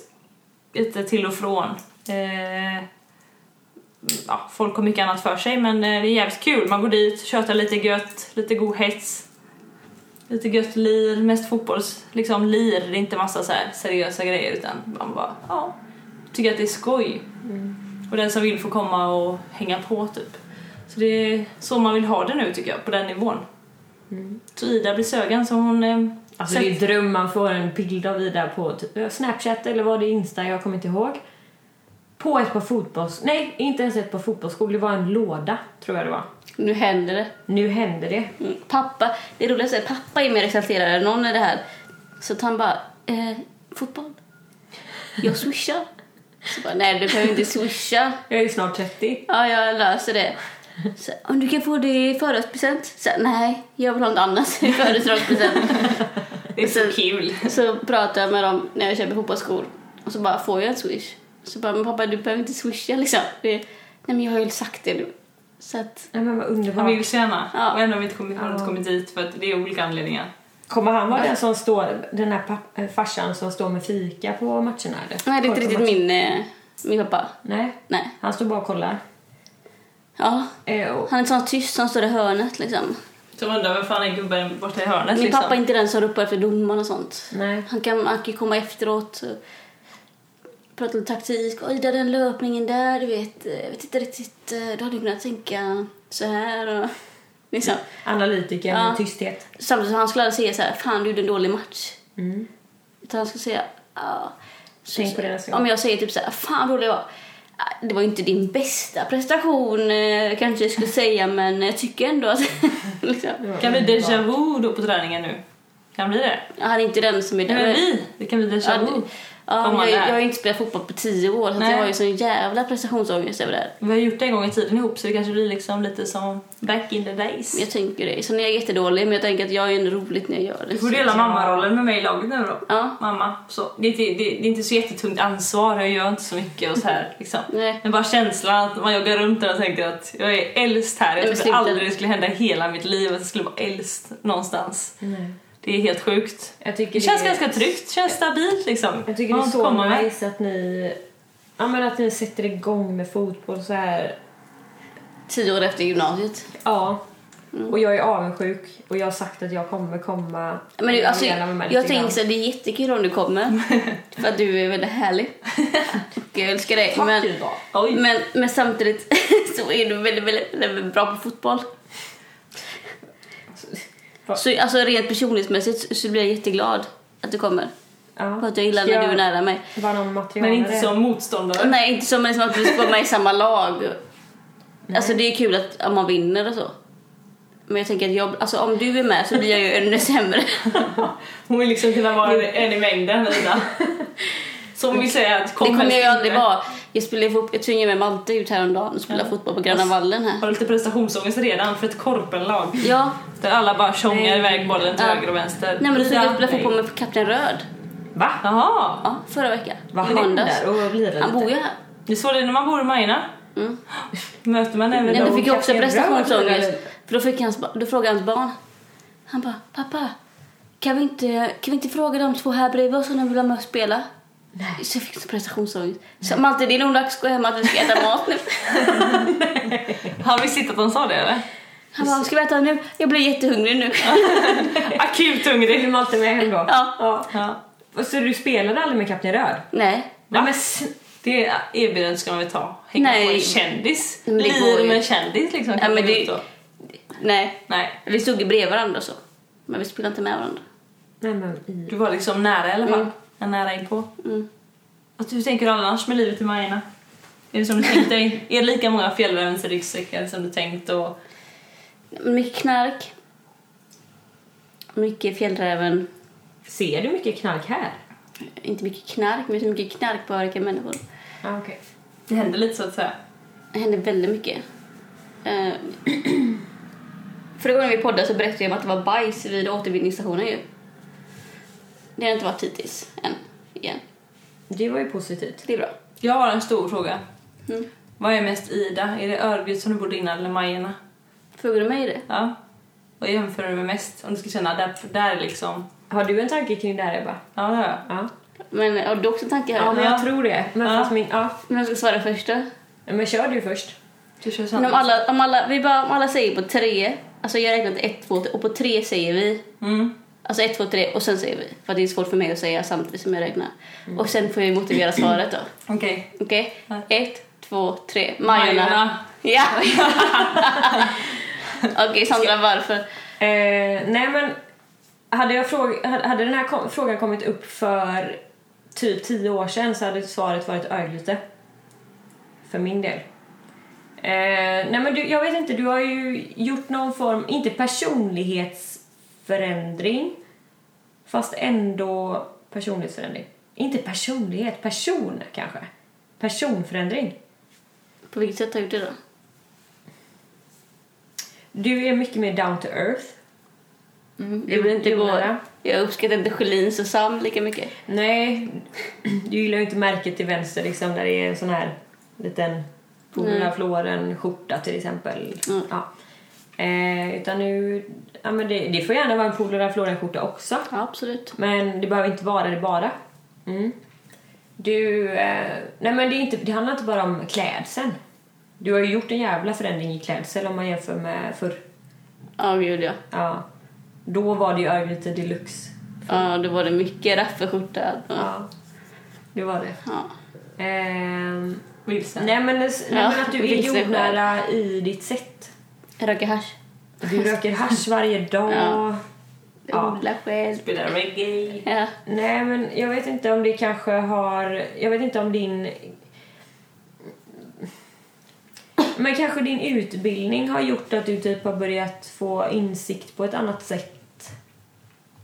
Speaker 3: lite till och från. Eh, Ja, folk har mycket annat för sig men eh, det är jävligt kul. Man går dit, tjötar lite gött, lite god hets. Lite gött lir, mest fotbolls, liksom lir, det är inte massa så här seriösa grejer utan man bara, ja, tycker att det är skoj.
Speaker 1: Mm.
Speaker 3: Och den som vill får komma och hänga på typ. Så det är så man vill ha det nu tycker jag, på den nivån.
Speaker 1: Mm.
Speaker 3: Så Ida blir sögen så hon... eh,
Speaker 2: Alltså det är ju dröm man får en bild av Ida på typ Snapchat eller vad det är, Insta, jag kommer inte ihåg. På ett par fotbolls... Nej, inte ens ett par fotbollsskor. Det var en låda, tror jag det var.
Speaker 1: Nu händer det.
Speaker 2: Nu händer det.
Speaker 1: Mm, Pappa, det är roligt att säga, pappa är mer exalterad än någon i det här. Så att han bara, eh, fotboll? Jag swishar. Så bara, nej du behöver inte swisha.
Speaker 2: Jag är ju snart 30.
Speaker 1: Ja, jag löser det. Så, om du kan få det i födelsedagspresent? Så, Nej, jag vill ha något annat i födelsedagspresent.
Speaker 3: det är så
Speaker 1: så-
Speaker 3: kul.
Speaker 1: Så pratar jag med dem när jag köper fotbollsskor och så bara får jag en swish. Så bara, men pappa du behöver inte swisha liksom. Det, nej men jag har ju sagt det nu. Så att,
Speaker 2: Nej men vad
Speaker 3: Han
Speaker 2: underbart.
Speaker 3: vill så gärna
Speaker 1: Ja.
Speaker 3: och ändå har vi inte kommit, har inte
Speaker 2: Ja.
Speaker 3: kommit dit för att det är olika anledningar.
Speaker 2: Kommer han vara den som står, den här papp- eh, farsan som står med fika på matcherna eller?
Speaker 1: Nej, det är
Speaker 2: På
Speaker 1: inte riktigt
Speaker 2: match-
Speaker 1: min, eh, min pappa.
Speaker 2: Nej,
Speaker 1: Nej.
Speaker 2: han står bara och kollar.
Speaker 1: Ja.
Speaker 2: Eh, och-
Speaker 1: Han är sån tyst som står i hörnet liksom.
Speaker 3: Som undrar vem fan är gubben borta i hörnet
Speaker 1: Min
Speaker 3: liksom.
Speaker 1: pappa är inte den som ropar efter domaren och sånt.
Speaker 2: Nej.
Speaker 1: Han kan, han kan ju komma efteråt och prata lite taktik. Oj, där den löpningen där, du vet. eh, Jag vet inte riktigt. eh, Då hade du kunnat tänka så här och liksom.
Speaker 2: Analytiker
Speaker 1: Ja.
Speaker 2: med tysthet. Mm.
Speaker 1: Samtidigt som han skulle aldrig säga så här, fan du gjorde en dålig match. Utan han skulle säga, ja. så-
Speaker 2: Tänk på det nästa gång.
Speaker 1: Om jag säger typ så här, fan vad dålig jag var. "Ah, Det var ju inte din bästa prestation eh, kanske jag skulle säga men jag tycker ändå att... (laughs) liksom.
Speaker 3: Kan bli déjà vu då på träningen nu? Kan bli det?
Speaker 1: Han är inte den som är
Speaker 3: Det är vi! Det kan bli déjà
Speaker 1: Ja,
Speaker 3: vu.
Speaker 1: det- Ja, men
Speaker 3: Komma
Speaker 1: jag, jag
Speaker 3: där.
Speaker 1: har ju inte spelat fotboll på tio år så att
Speaker 3: Nej.
Speaker 1: jag har ju sån jävla prestationsångest över det här.
Speaker 3: Vi har gjort det en gång i tiden ihop så det kanske blir liksom lite som back in the days.
Speaker 1: Jag tänker det. Sen är jag jättedålig men jag tänker att jag är ändå roligt när jag gör det.
Speaker 3: Du får dela mammarollen med mig i laget nu då.
Speaker 1: Ja.
Speaker 3: Mamma. Så, det, är inte, det, det är inte så jättetungt ansvar, jag gör inte så mycket och så här liksom.
Speaker 1: Nej.
Speaker 3: Men bara känslan att man joggar runt där och tänker att jag är äldst här.
Speaker 1: men
Speaker 3: Jag trodde
Speaker 1: sluta.
Speaker 3: aldrig det skulle hända i hela mitt liv att jag skulle vara äldst någonstans.
Speaker 2: Nej.
Speaker 3: Det är helt sjukt.
Speaker 2: Jag tycker
Speaker 3: Det känns
Speaker 2: är-
Speaker 3: ganska tryggt, känns stabilt liksom.
Speaker 2: Jag tycker det
Speaker 3: Man har
Speaker 2: är
Speaker 3: inte
Speaker 2: så
Speaker 3: komma med.
Speaker 2: nice att ni, ja, men att ni sätter igång med fotboll så här.
Speaker 1: Tio år efter gymnasiet.
Speaker 2: Ja.
Speaker 1: Mm.
Speaker 2: Och jag är avundsjuk och jag har sagt att jag kommer komma.
Speaker 1: Men det,
Speaker 2: Jag
Speaker 1: alltså,
Speaker 2: delar med mig
Speaker 1: jag
Speaker 2: lite grann.
Speaker 1: tänker så här, det är jättekul om du kommer. för att du är väldigt härlig. Och jag älskar dig.
Speaker 2: Tack
Speaker 1: Men,
Speaker 2: Ida.
Speaker 3: Oj.
Speaker 1: men, men samtidigt (laughs) så är du väldigt, väldigt, väldigt bra på fotboll.
Speaker 2: Va?
Speaker 1: Så alltså, rent personlighetsmässigt så blir jag jätteglad att du kommer.
Speaker 2: Ja.
Speaker 1: För att jag gillar
Speaker 2: Ska
Speaker 1: när du är
Speaker 2: jag
Speaker 1: nära mig.
Speaker 2: Vara någon material
Speaker 3: Men inte
Speaker 2: där?
Speaker 3: som motståndare.
Speaker 1: Nej, inte som, men som att vi ska vara med i samma lag. Alltså det är kul att om man vinner och så. Men jag tänker att jag, alltså, om du är med så blir jag ju ännu sämre.
Speaker 3: Hon vill liksom kunna vara en,
Speaker 1: Mm.
Speaker 3: en i mängden, Ida. Så hon vill säga att
Speaker 1: det
Speaker 3: kom
Speaker 1: kommer
Speaker 3: helst
Speaker 1: jag ju aldrig
Speaker 3: inte.
Speaker 1: vara. Jag spelade fot- jag tvingade med Malte ut häromdagen och spelade fotboll på Gröna vallen här.
Speaker 3: Har lite prestationsångest redan för ett korpenlag
Speaker 1: Ja,
Speaker 3: där alla bara tjongar
Speaker 2: Nej.
Speaker 3: iväg bollen till
Speaker 1: Ja.
Speaker 3: höger och vänster.
Speaker 1: nej men då fick jag spela
Speaker 3: nej.
Speaker 1: fotboll med kapten Röd.
Speaker 2: Va?
Speaker 3: Jaha!
Speaker 1: Ja, förra veckan.
Speaker 2: Vad
Speaker 1: I
Speaker 2: han
Speaker 1: måndags.
Speaker 2: där och lirar
Speaker 1: Han
Speaker 2: lite?
Speaker 1: bor ju här.
Speaker 3: Det är så det är när man bor i Majorna.
Speaker 1: Mm.
Speaker 3: Möter man även
Speaker 1: Nej, men då
Speaker 3: de...
Speaker 1: fick jag också
Speaker 2: kapten Röd
Speaker 1: prestationsångest.
Speaker 2: lirar
Speaker 1: För då, fick hans, ba- då frågade hans barn. Han bara, pappa, kan vi, inte, kan vi inte fråga de två här bredvid oss om de vill vara med och spela? Nej. Så jag fick så prestationsångest. Så Malte, det är nog dags att gå hem att vi ska äta mat nu.
Speaker 3: Har vi sett att de sa
Speaker 1: (laughs)
Speaker 3: det eller?
Speaker 1: Han bara, ska vi äta nu? Jag blir jättehungrig nu.
Speaker 3: (laughs) Akut
Speaker 2: Vill
Speaker 3: hungrig!
Speaker 2: man alltid med hem då?
Speaker 1: (laughs) Ja.
Speaker 3: Ja.
Speaker 2: Och Så du spelade aldrig med Kapten Röd?
Speaker 1: Nej.
Speaker 2: Nej men sn-
Speaker 3: Det erbjudandet ska man väl ta? Hänga
Speaker 1: Nej.
Speaker 3: på en kändis?
Speaker 1: Men det går
Speaker 3: Lir
Speaker 1: ju-
Speaker 3: med en kändis liksom?
Speaker 1: Ja,
Speaker 3: kan
Speaker 1: men
Speaker 3: man gå
Speaker 1: det-
Speaker 3: ut och-
Speaker 1: Nej.
Speaker 3: Nej,
Speaker 1: Vi stod ju bredvid varandra och så. Men vi spelade inte med varandra.
Speaker 2: Nej men i...
Speaker 3: du var liksom nära i alla fall.
Speaker 1: Mm.
Speaker 3: En Nära inpå.
Speaker 1: Mm.
Speaker 3: Att Alltså, hur tänker du annars med livet i Majorna? Är det som du tänkt dig? är det lika många fjällrävens i ryggsäcken som du tänkt? Och...
Speaker 1: Mycket knark. Mycket fjällräven.
Speaker 2: Ser du mycket knark här?
Speaker 1: Inte mycket knark, men så mycket knarkpåverkade människor.
Speaker 2: Ah, okay.
Speaker 3: Det händer lite så att säga.
Speaker 1: Det hände väldigt mycket. Eh, (clears throat) Förra gången vi poddade så berättade jag om att det var bajs vid återvinningsstationen ju. Det har inte varit hittills än. Igen.
Speaker 2: Det var ju positivt.
Speaker 1: Så det är bra.
Speaker 3: Jag har en stor fråga.
Speaker 1: Mm.
Speaker 3: Vad är mest Ida? Är det Örgryte som du bodde innan eller Majorna?
Speaker 1: Frågar du mig det?
Speaker 3: Ja. Vad jämför du med mest? Om du ska känna där, där liksom.
Speaker 2: Har du en tanke kring det här Ebba?
Speaker 3: Ja, det har jag.
Speaker 2: Ja.
Speaker 1: Men har du också en tanke här?
Speaker 2: Ja men
Speaker 3: Ja.
Speaker 2: jag tror det. Men
Speaker 3: Ja.
Speaker 2: fast min... Ja.
Speaker 1: Vem ska svara först då?
Speaker 2: Men kör du först.
Speaker 3: Du kör
Speaker 1: Men
Speaker 3: samma.
Speaker 1: om alla, om alla, vi bara, om alla säger på tre, alltså jag räknar till ett, två, tre, och på tre säger vi.
Speaker 3: Mm.
Speaker 1: Alltså ett, två, tre och sen säger vi. För att det är svårt för mig att säga samtidigt som jag räknar.
Speaker 2: Mm.
Speaker 1: Och sen får jag ju motivera svaret då.
Speaker 3: Okej.
Speaker 1: Okej?
Speaker 3: Ja.
Speaker 1: Ett, två, tre. Majorna. Ja! Okej Sandra, varför?
Speaker 2: Eh, nej men hade, jag fråg- hade hade den här kom- frågan kommit upp för typ tio år sedan så hade svaret varit Örgryte. För min del. Eh, nej men du, jag vet inte, du har ju gjort någon form, inte personlighetsförändring fast ändå personlighetsförändring. Inte personlighet, person kanske. Personförändring.
Speaker 1: På vilket sätt har jag gjort det då?
Speaker 2: Du är mycket mer down to earth.
Speaker 1: Det blir Mm, inte
Speaker 2: jordnära.
Speaker 1: går. Jag uppskattar inte Sjölins och Sam lika mycket.
Speaker 2: Nej, du gillar ju inte märket till vänster liksom när det är en sån här liten Polarfloren skjorta till exempel.
Speaker 1: Mm.
Speaker 2: Ja. Eh, utan nu, ja, men det, det får gärna vara en Polo Ralph också.
Speaker 1: Ja, absolut.
Speaker 2: Men det behöver inte vara det bara. Mm. Du, eh, nej men det, är inte, det handlar inte bara om klädseln. Du har ju gjort en jävla förändring i klädsel om man jämför med förr.
Speaker 1: Ja, gud ja.
Speaker 2: Ja. Då var det ju Örgryte deluxe.
Speaker 1: Ja, då var det mycket raffelskjorta. Ja.
Speaker 2: Ja. Det var det.
Speaker 1: Ja.
Speaker 2: Ehm,
Speaker 3: Vilsen.
Speaker 2: nej men, det- nej
Speaker 1: Ja,
Speaker 2: men att du är
Speaker 1: vilse
Speaker 2: jordnära i ditt sätt.
Speaker 1: Röka hasch.
Speaker 2: Du röker
Speaker 1: (laughs)
Speaker 2: hasch varje dag.
Speaker 1: Ja.
Speaker 2: Ja.
Speaker 1: Odla själv.
Speaker 3: Spelar reggae.
Speaker 1: Ja.
Speaker 2: Nej, men jag vet inte om det kanske har... Jag vet inte om din... Men kanske din utbildning har gjort att du typ har börjat få insikt på ett annat sätt.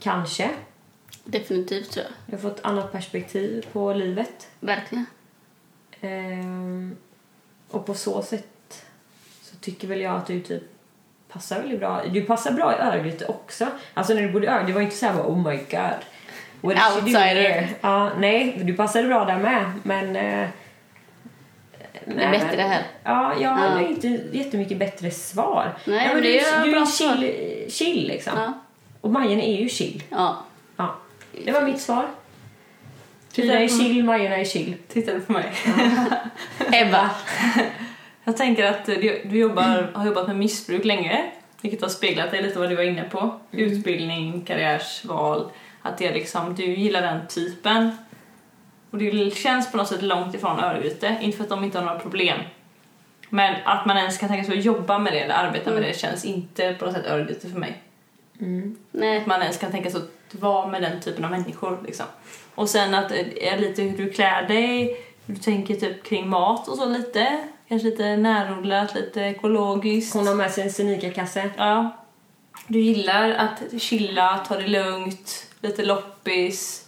Speaker 2: Kanske.
Speaker 1: Definitivt tror jag.
Speaker 2: Du har fått ett annat perspektiv på livet.
Speaker 1: Verkligen.
Speaker 2: Ehm, och på så sätt så tycker väl jag att du typ passar väldigt bra. Du passar bra i Örgryte också. Alltså när du bodde i Örgryte, det var inte så här bara, oh my god. What is she doing
Speaker 1: Outsider.
Speaker 2: here?" Ja, nej, du passade bra där med, men... eh,
Speaker 1: Det är
Speaker 2: nej,
Speaker 1: bättre
Speaker 2: men-
Speaker 1: här.
Speaker 2: Ja, jag hade
Speaker 1: Ja.
Speaker 2: inte jättemycket bättre svar.
Speaker 1: Nej,
Speaker 2: Ja,
Speaker 1: men
Speaker 2: du,
Speaker 1: det är
Speaker 2: du är
Speaker 1: bra
Speaker 2: chill, chill liksom.
Speaker 1: Ja.
Speaker 2: Och Majen är ju chill.
Speaker 1: Ja.
Speaker 2: Ja. Det var mitt svar. Tyra
Speaker 3: Tyra
Speaker 2: är
Speaker 3: på-
Speaker 2: chill, Majerna är chill.
Speaker 3: Tittar du på mig?
Speaker 2: (laughs)
Speaker 1: Ebba.
Speaker 3: Jag tänker att du, du jobbar, har jobbat med missbruk länge, vilket har speglat dig lite vad du var inne på. Utbildning, karriärsval, att det är liksom, du gillar den typen. Och det känns på något sätt långt ifrån Örgryte, inte för att de inte har några problem. Men att man ens kan tänka sig att jobba med det eller arbeta med det känns inte på något sätt Örgryte för mig.
Speaker 1: Nej.
Speaker 2: Mm.
Speaker 3: Att man ens kan tänka sig att vara med den typen av människor. Liksom. Och sen att eh, lite hur du klär dig, hur du tänker typ kring mat och så lite. Kanske lite närodlat, lite ekologiskt.
Speaker 2: Hon har med sig en Senika-kasse.
Speaker 3: Ja. Du gillar att chilla, ta det lugnt, lite loppis.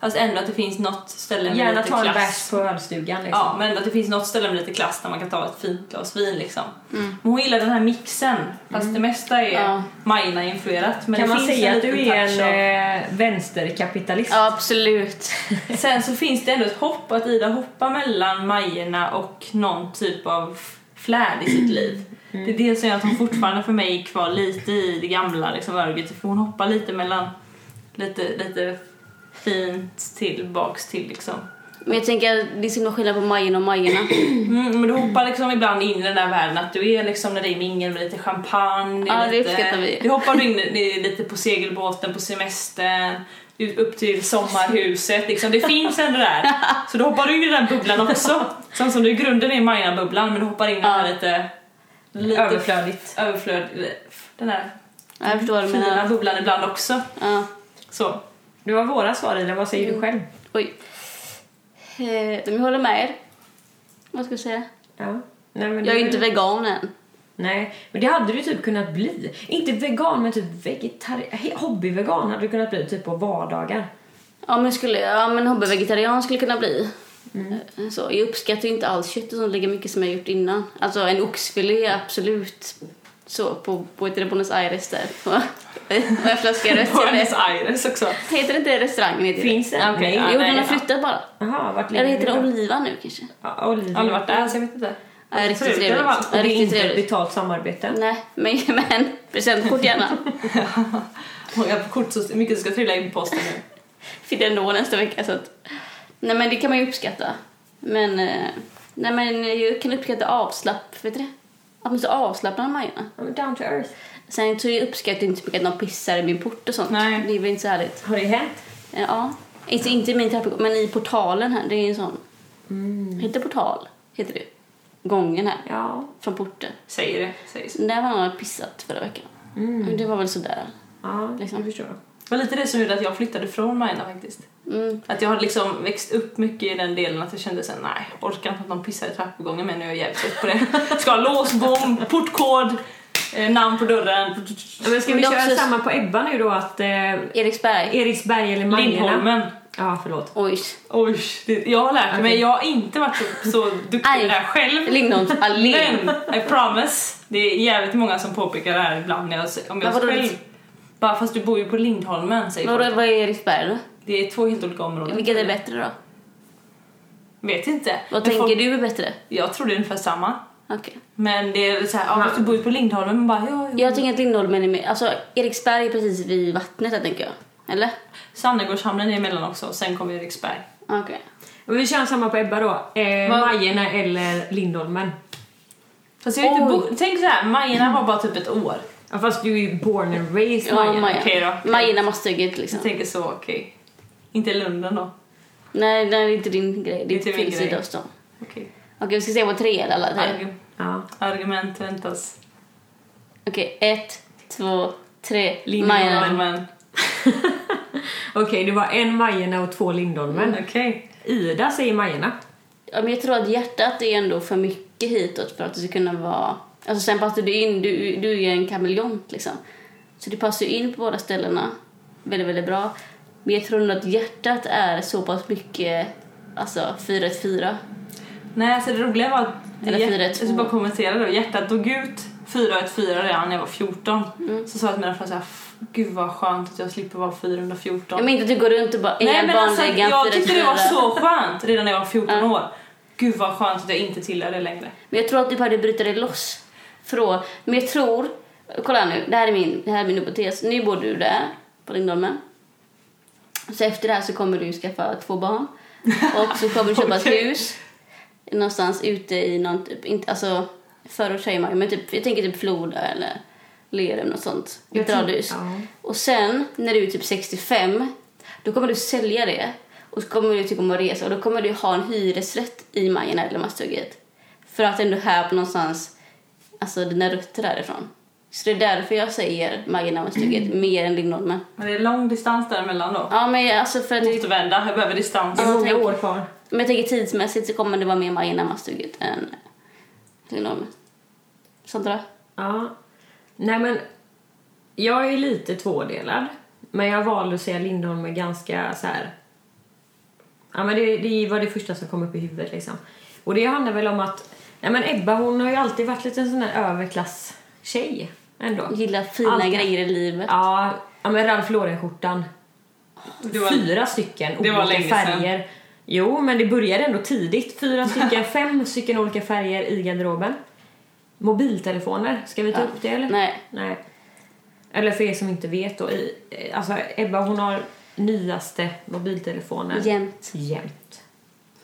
Speaker 3: Fast ändå att det finns något ställe med
Speaker 2: Gärna
Speaker 3: lite
Speaker 2: ta en
Speaker 3: klass.
Speaker 2: bärs på ölstugan liksom.
Speaker 3: Ja, men att det finns något ställe med lite klass där man kan ta ett fint glas vin liksom. Men hon gillar den här mixen, fast det mesta är
Speaker 1: Mm. Ja.
Speaker 3: Majorna-influerat. Men
Speaker 2: Mm. kan
Speaker 3: det
Speaker 2: man
Speaker 3: finns
Speaker 2: säga
Speaker 3: en
Speaker 2: att du
Speaker 3: liten
Speaker 2: är
Speaker 3: touch av-
Speaker 2: en eh, vänsterkapitalist?
Speaker 1: Ja, absolut.
Speaker 3: Sen så finns det ändå ett hopp att Ida hoppar mellan Majorna och någon typ av flärd i sitt liv.
Speaker 2: Mm.
Speaker 3: Det är det som gör att hon fortfarande för mig är kvar lite i det gamla liksom, Örgryte, för hon hoppar lite mellan lite, lite fint tillbaks till liksom.
Speaker 1: Men jag tänker att det är så himla skillnad på Majen och Majerna.
Speaker 3: Mm, men du hoppar liksom ibland in i den där världen att du är liksom när det är mingel med lite champagne.
Speaker 1: Ja, det
Speaker 3: lite,
Speaker 1: uppskattar vi.
Speaker 3: Du hoppar in i, lite på segelbåten på semestern, ut- upp till sommarhuset. Liksom. Det finns ändå där. Så då hoppar du in i den bubblan också. Sen som du i grunden är Maja-bubblan men du hoppar in i den här
Speaker 1: Ja.
Speaker 3: lite, lite
Speaker 2: Överflödigt.
Speaker 3: överflöd, den här
Speaker 1: Ja, jag förstår vad du
Speaker 3: fina
Speaker 1: menar.
Speaker 3: bubblan ibland också.
Speaker 1: Ja.
Speaker 3: Så.
Speaker 2: Det var våra svar Ida, vad säger
Speaker 3: Mm.
Speaker 2: du själv?
Speaker 1: Oj. Eh, men jag håller med er. Vad ska jag säga?
Speaker 2: Ja. Nej, men
Speaker 1: Jag är
Speaker 2: det-
Speaker 1: ju inte vegan än.
Speaker 2: Nej, men det hade du typ kunnat bli. Inte vegan, men typ vegetarian. Hobbyvegan hade du kunnat bli typ på vardagar.
Speaker 1: Ja men, skulle, ja, men hobbyvegetarian skulle kunna bli. Eh, Så, jag uppskattar ju inte alls kött och sånt lika mycket som jag gjort innan. Alltså en oxfilé absolut. Så på, på heter det Buenos Aires där. På, på (laughs) en flaska
Speaker 3: (laughs)
Speaker 1: rött.
Speaker 3: Buenos Aires också.
Speaker 1: Heter det inte restaurangen? Heter det?
Speaker 2: Finns det?
Speaker 3: Okej, ja.
Speaker 1: Jo den
Speaker 3: nej,
Speaker 1: har flyttat bara.
Speaker 2: Jaha, vart ligger
Speaker 1: Eller heter det
Speaker 2: det?
Speaker 1: Oliva nu kanske?
Speaker 2: Ja, Oliver.
Speaker 3: Jag har aldrig varit där så jag vet inte. (laughs)
Speaker 1: Ja, riktigt
Speaker 3: Förut i alla
Speaker 1: trevligt.
Speaker 3: fall.
Speaker 1: Ja,
Speaker 2: Och det är
Speaker 1: riktigt
Speaker 2: inte ett
Speaker 1: trevligt.
Speaker 2: betalt samarbete.
Speaker 3: Mm.
Speaker 1: Nej, men, (laughs) men presentkort gärna.
Speaker 3: Många kort, så mycket ska trilla in på posten nu.
Speaker 1: Fyller ändå nästa vecka så att... Nej men det kan man ju uppskatta. Men... eh, Nej men jag kan uppskatta avslapp... Vet du det? Att man är så avslappnad man gör.
Speaker 2: Ja, men down to earth.
Speaker 1: Sen så jag uppskattar jag inte så mycket att någon pissar i min port och sånt.
Speaker 3: Nej.
Speaker 1: Det är väl inte så härligt.
Speaker 2: Har det hänt?
Speaker 1: Eh, Ja. Inte, inte i min trappuppgång, men i portalen här. Det är en sån... Heter portal? Heter det. Gången här.
Speaker 2: Ja.
Speaker 1: Från porten.
Speaker 3: Säger det, säger så.
Speaker 1: Där var någon pissat förra veckan. Men Det var väl sådär.
Speaker 2: Mm. Ja,
Speaker 1: Liksom.
Speaker 2: jag förstår.
Speaker 3: Det var lite det som gjorde att jag flyttade från Majorna faktiskt.
Speaker 1: Mm.
Speaker 3: Att jag hade liksom växt upp mycket i den delen att jag kände såhär, nej, jag orkar inte att någon pissar i trappuppgången men nu är jag jävligt trött på det. (laughs) Ska ha låsbom, portkod, eh, namn på dörren,
Speaker 2: Ja, Men ska vi
Speaker 1: Men det är
Speaker 2: köra
Speaker 1: också-
Speaker 2: samma på Ebba nu då att eh,
Speaker 1: Eriksberg.
Speaker 2: Eriksberg eller Majorna?
Speaker 3: Lindholmen.
Speaker 2: Ja, förlåt.
Speaker 1: Oj.
Speaker 3: Oj, det, jag har lärt mig.
Speaker 2: Okej.
Speaker 3: Jag har inte varit så, så duktig
Speaker 1: Aj.
Speaker 3: med det här själv.
Speaker 1: Lindholms (laughs) allé.
Speaker 3: Men I promise, det är jävligt många som påpekar det här ibland när jag, om jag
Speaker 1: Men vadå,
Speaker 3: själv. Bara fast du bor ju på Lindholmen säger
Speaker 1: Vadå,
Speaker 3: folk.
Speaker 1: vad är Eriksberg då?
Speaker 3: Det är två helt olika områden.
Speaker 1: Vilket är bättre då?
Speaker 3: Vet inte.
Speaker 1: Vad
Speaker 3: Men
Speaker 1: tänker
Speaker 3: folk-
Speaker 1: du är bättre?
Speaker 3: Jag tror det är ungefär samma.
Speaker 1: Okej.
Speaker 3: Men det är så här, ja,
Speaker 2: Man-
Speaker 3: fast du bor ju på Lindholmen. Man bara, ja, jo.
Speaker 1: Jag tänker att Lindholmen är med. Alltså Eriksberg är precis vid vattnet där tänker jag. Eller?
Speaker 3: Sannegårdshamnen är emellan också och sen kommer Eriksberg.
Speaker 1: Okej.
Speaker 2: Men vi kör samma på Ebba då. Eh,
Speaker 3: Vad-
Speaker 2: Majerna eller Lindholmen.
Speaker 3: Fast jag har inte
Speaker 1: Oj. Mm.
Speaker 3: bo- Tänk så här, Majerna var bara typ ett år.
Speaker 2: Ja, fast du är ju born and raised
Speaker 1: Ja,
Speaker 2: Majerna.
Speaker 1: Maja.
Speaker 3: okej då.
Speaker 1: Majorna Masthugget liksom.
Speaker 3: Jag tänker så, okej. Inte Lunden då.
Speaker 1: Nej, nej, det är inte din grej. Det är
Speaker 3: Inte min
Speaker 1: fel
Speaker 3: grej.
Speaker 1: sida av stan.
Speaker 3: Okej.
Speaker 1: Okej, vi ska se på tre eller alla tre.
Speaker 3: Argu-
Speaker 2: Ja.
Speaker 3: argument väntas.
Speaker 1: Okej, ett, två, tre. Majorna.
Speaker 3: Lindholmen.
Speaker 2: Okej, det var en Majerna och två Lindholmen.
Speaker 3: Okej.
Speaker 2: Ida säger Majerna.
Speaker 1: Ja, men jag tror att hjärtat är ändå för mycket hitåt för att det ska kunna vara... Alltså sen passar du in, du, du är ju en kameleont liksom. Så det passar ju in på båda ställena väldigt, väldigt bra. Men jag tror nog att hjärtat är så pass mycket, alltså 414.
Speaker 3: Nej, alltså det roliga var att... det
Speaker 1: Eller
Speaker 3: hjärt-
Speaker 1: 4-1-2.
Speaker 3: Jag ska bara kommentera det. Hjärtat dog ut 414 redan när jag var 14.
Speaker 1: Mm.
Speaker 3: Så sa jag till mina föräldrar såhär, gud vad skönt att jag slipper vara 414.
Speaker 1: Jag menar inte att du går runt och bara
Speaker 3: Nej
Speaker 1: är
Speaker 3: men alltså
Speaker 1: barnläggaren
Speaker 3: jag tyckte det var
Speaker 1: 414.
Speaker 3: så skönt redan när jag var 14 år. Gud vad skönt att jag inte tillhör det längre.
Speaker 1: Men jag tror att du behövde bryta dig loss från... Men jag tror... Kolla nu, det här är min, det här är min hypotes. Nu bor du där, på Lindholmen. Så efter det här så kommer du skaffa två barn. Och så kommer du köpa
Speaker 2: (laughs)
Speaker 1: ett
Speaker 3: Okej.
Speaker 1: hus. Någonstans ute i någon typ... Inte, alltså, förort säger man ju, men typ, jag tänker typ Floda eller Lerum, något sånt.
Speaker 2: Jag
Speaker 1: Ett
Speaker 2: tror-
Speaker 1: radhus.
Speaker 2: ja.
Speaker 1: Och sen, när du är typ 65, då kommer du sälja det. Och så kommer du tycka om att resa och då kommer du ha en hyresrätt i Majerna eller Masthugget. För att ändå här på någonstans, alltså dina rötter därifrån. Så det är därför jag säger Majerna och Masthugget mer än Lindholmen.
Speaker 3: Men det är lång distans däremellan då.
Speaker 1: Ja men alltså för att
Speaker 3: Återvända, jag behöver distans.
Speaker 2: Det är
Speaker 1: Ja,
Speaker 2: många
Speaker 1: tänk.
Speaker 2: år kvar.
Speaker 1: Men jag tänker tidsmässigt så kommer det vara mer Majerna och Masthugget än Lindholmen. Sandra?
Speaker 2: Ja. Nej men, jag är lite tvådelad. Men jag valde att säga Lindholm ganska så här. Ja men det, det var det första som kom upp i huvudet liksom. Och det handlar väl om att, nej men Ebba hon har ju alltid varit lite en sån där överklasstjej ändå.
Speaker 1: Gillar fina
Speaker 2: Alltid.
Speaker 1: grejer i livet.
Speaker 2: Ja, ja men Ralph Lauren-skjortan.
Speaker 3: Det var-
Speaker 2: Fyra stycken
Speaker 3: det var
Speaker 2: olika
Speaker 3: länge sedan.
Speaker 2: färger. Jo, men det började ändå tidigt.
Speaker 3: (laughs)
Speaker 2: Fyra stycken, fem stycken olika färger i garderoben. Mobiltelefoner, ska vi ta upp det eller?
Speaker 1: Nej.
Speaker 2: Nej. Eller för er som inte vet då, i, alltså Ebba hon har nyaste mobiltelefonen
Speaker 1: Jämt.
Speaker 2: jämt.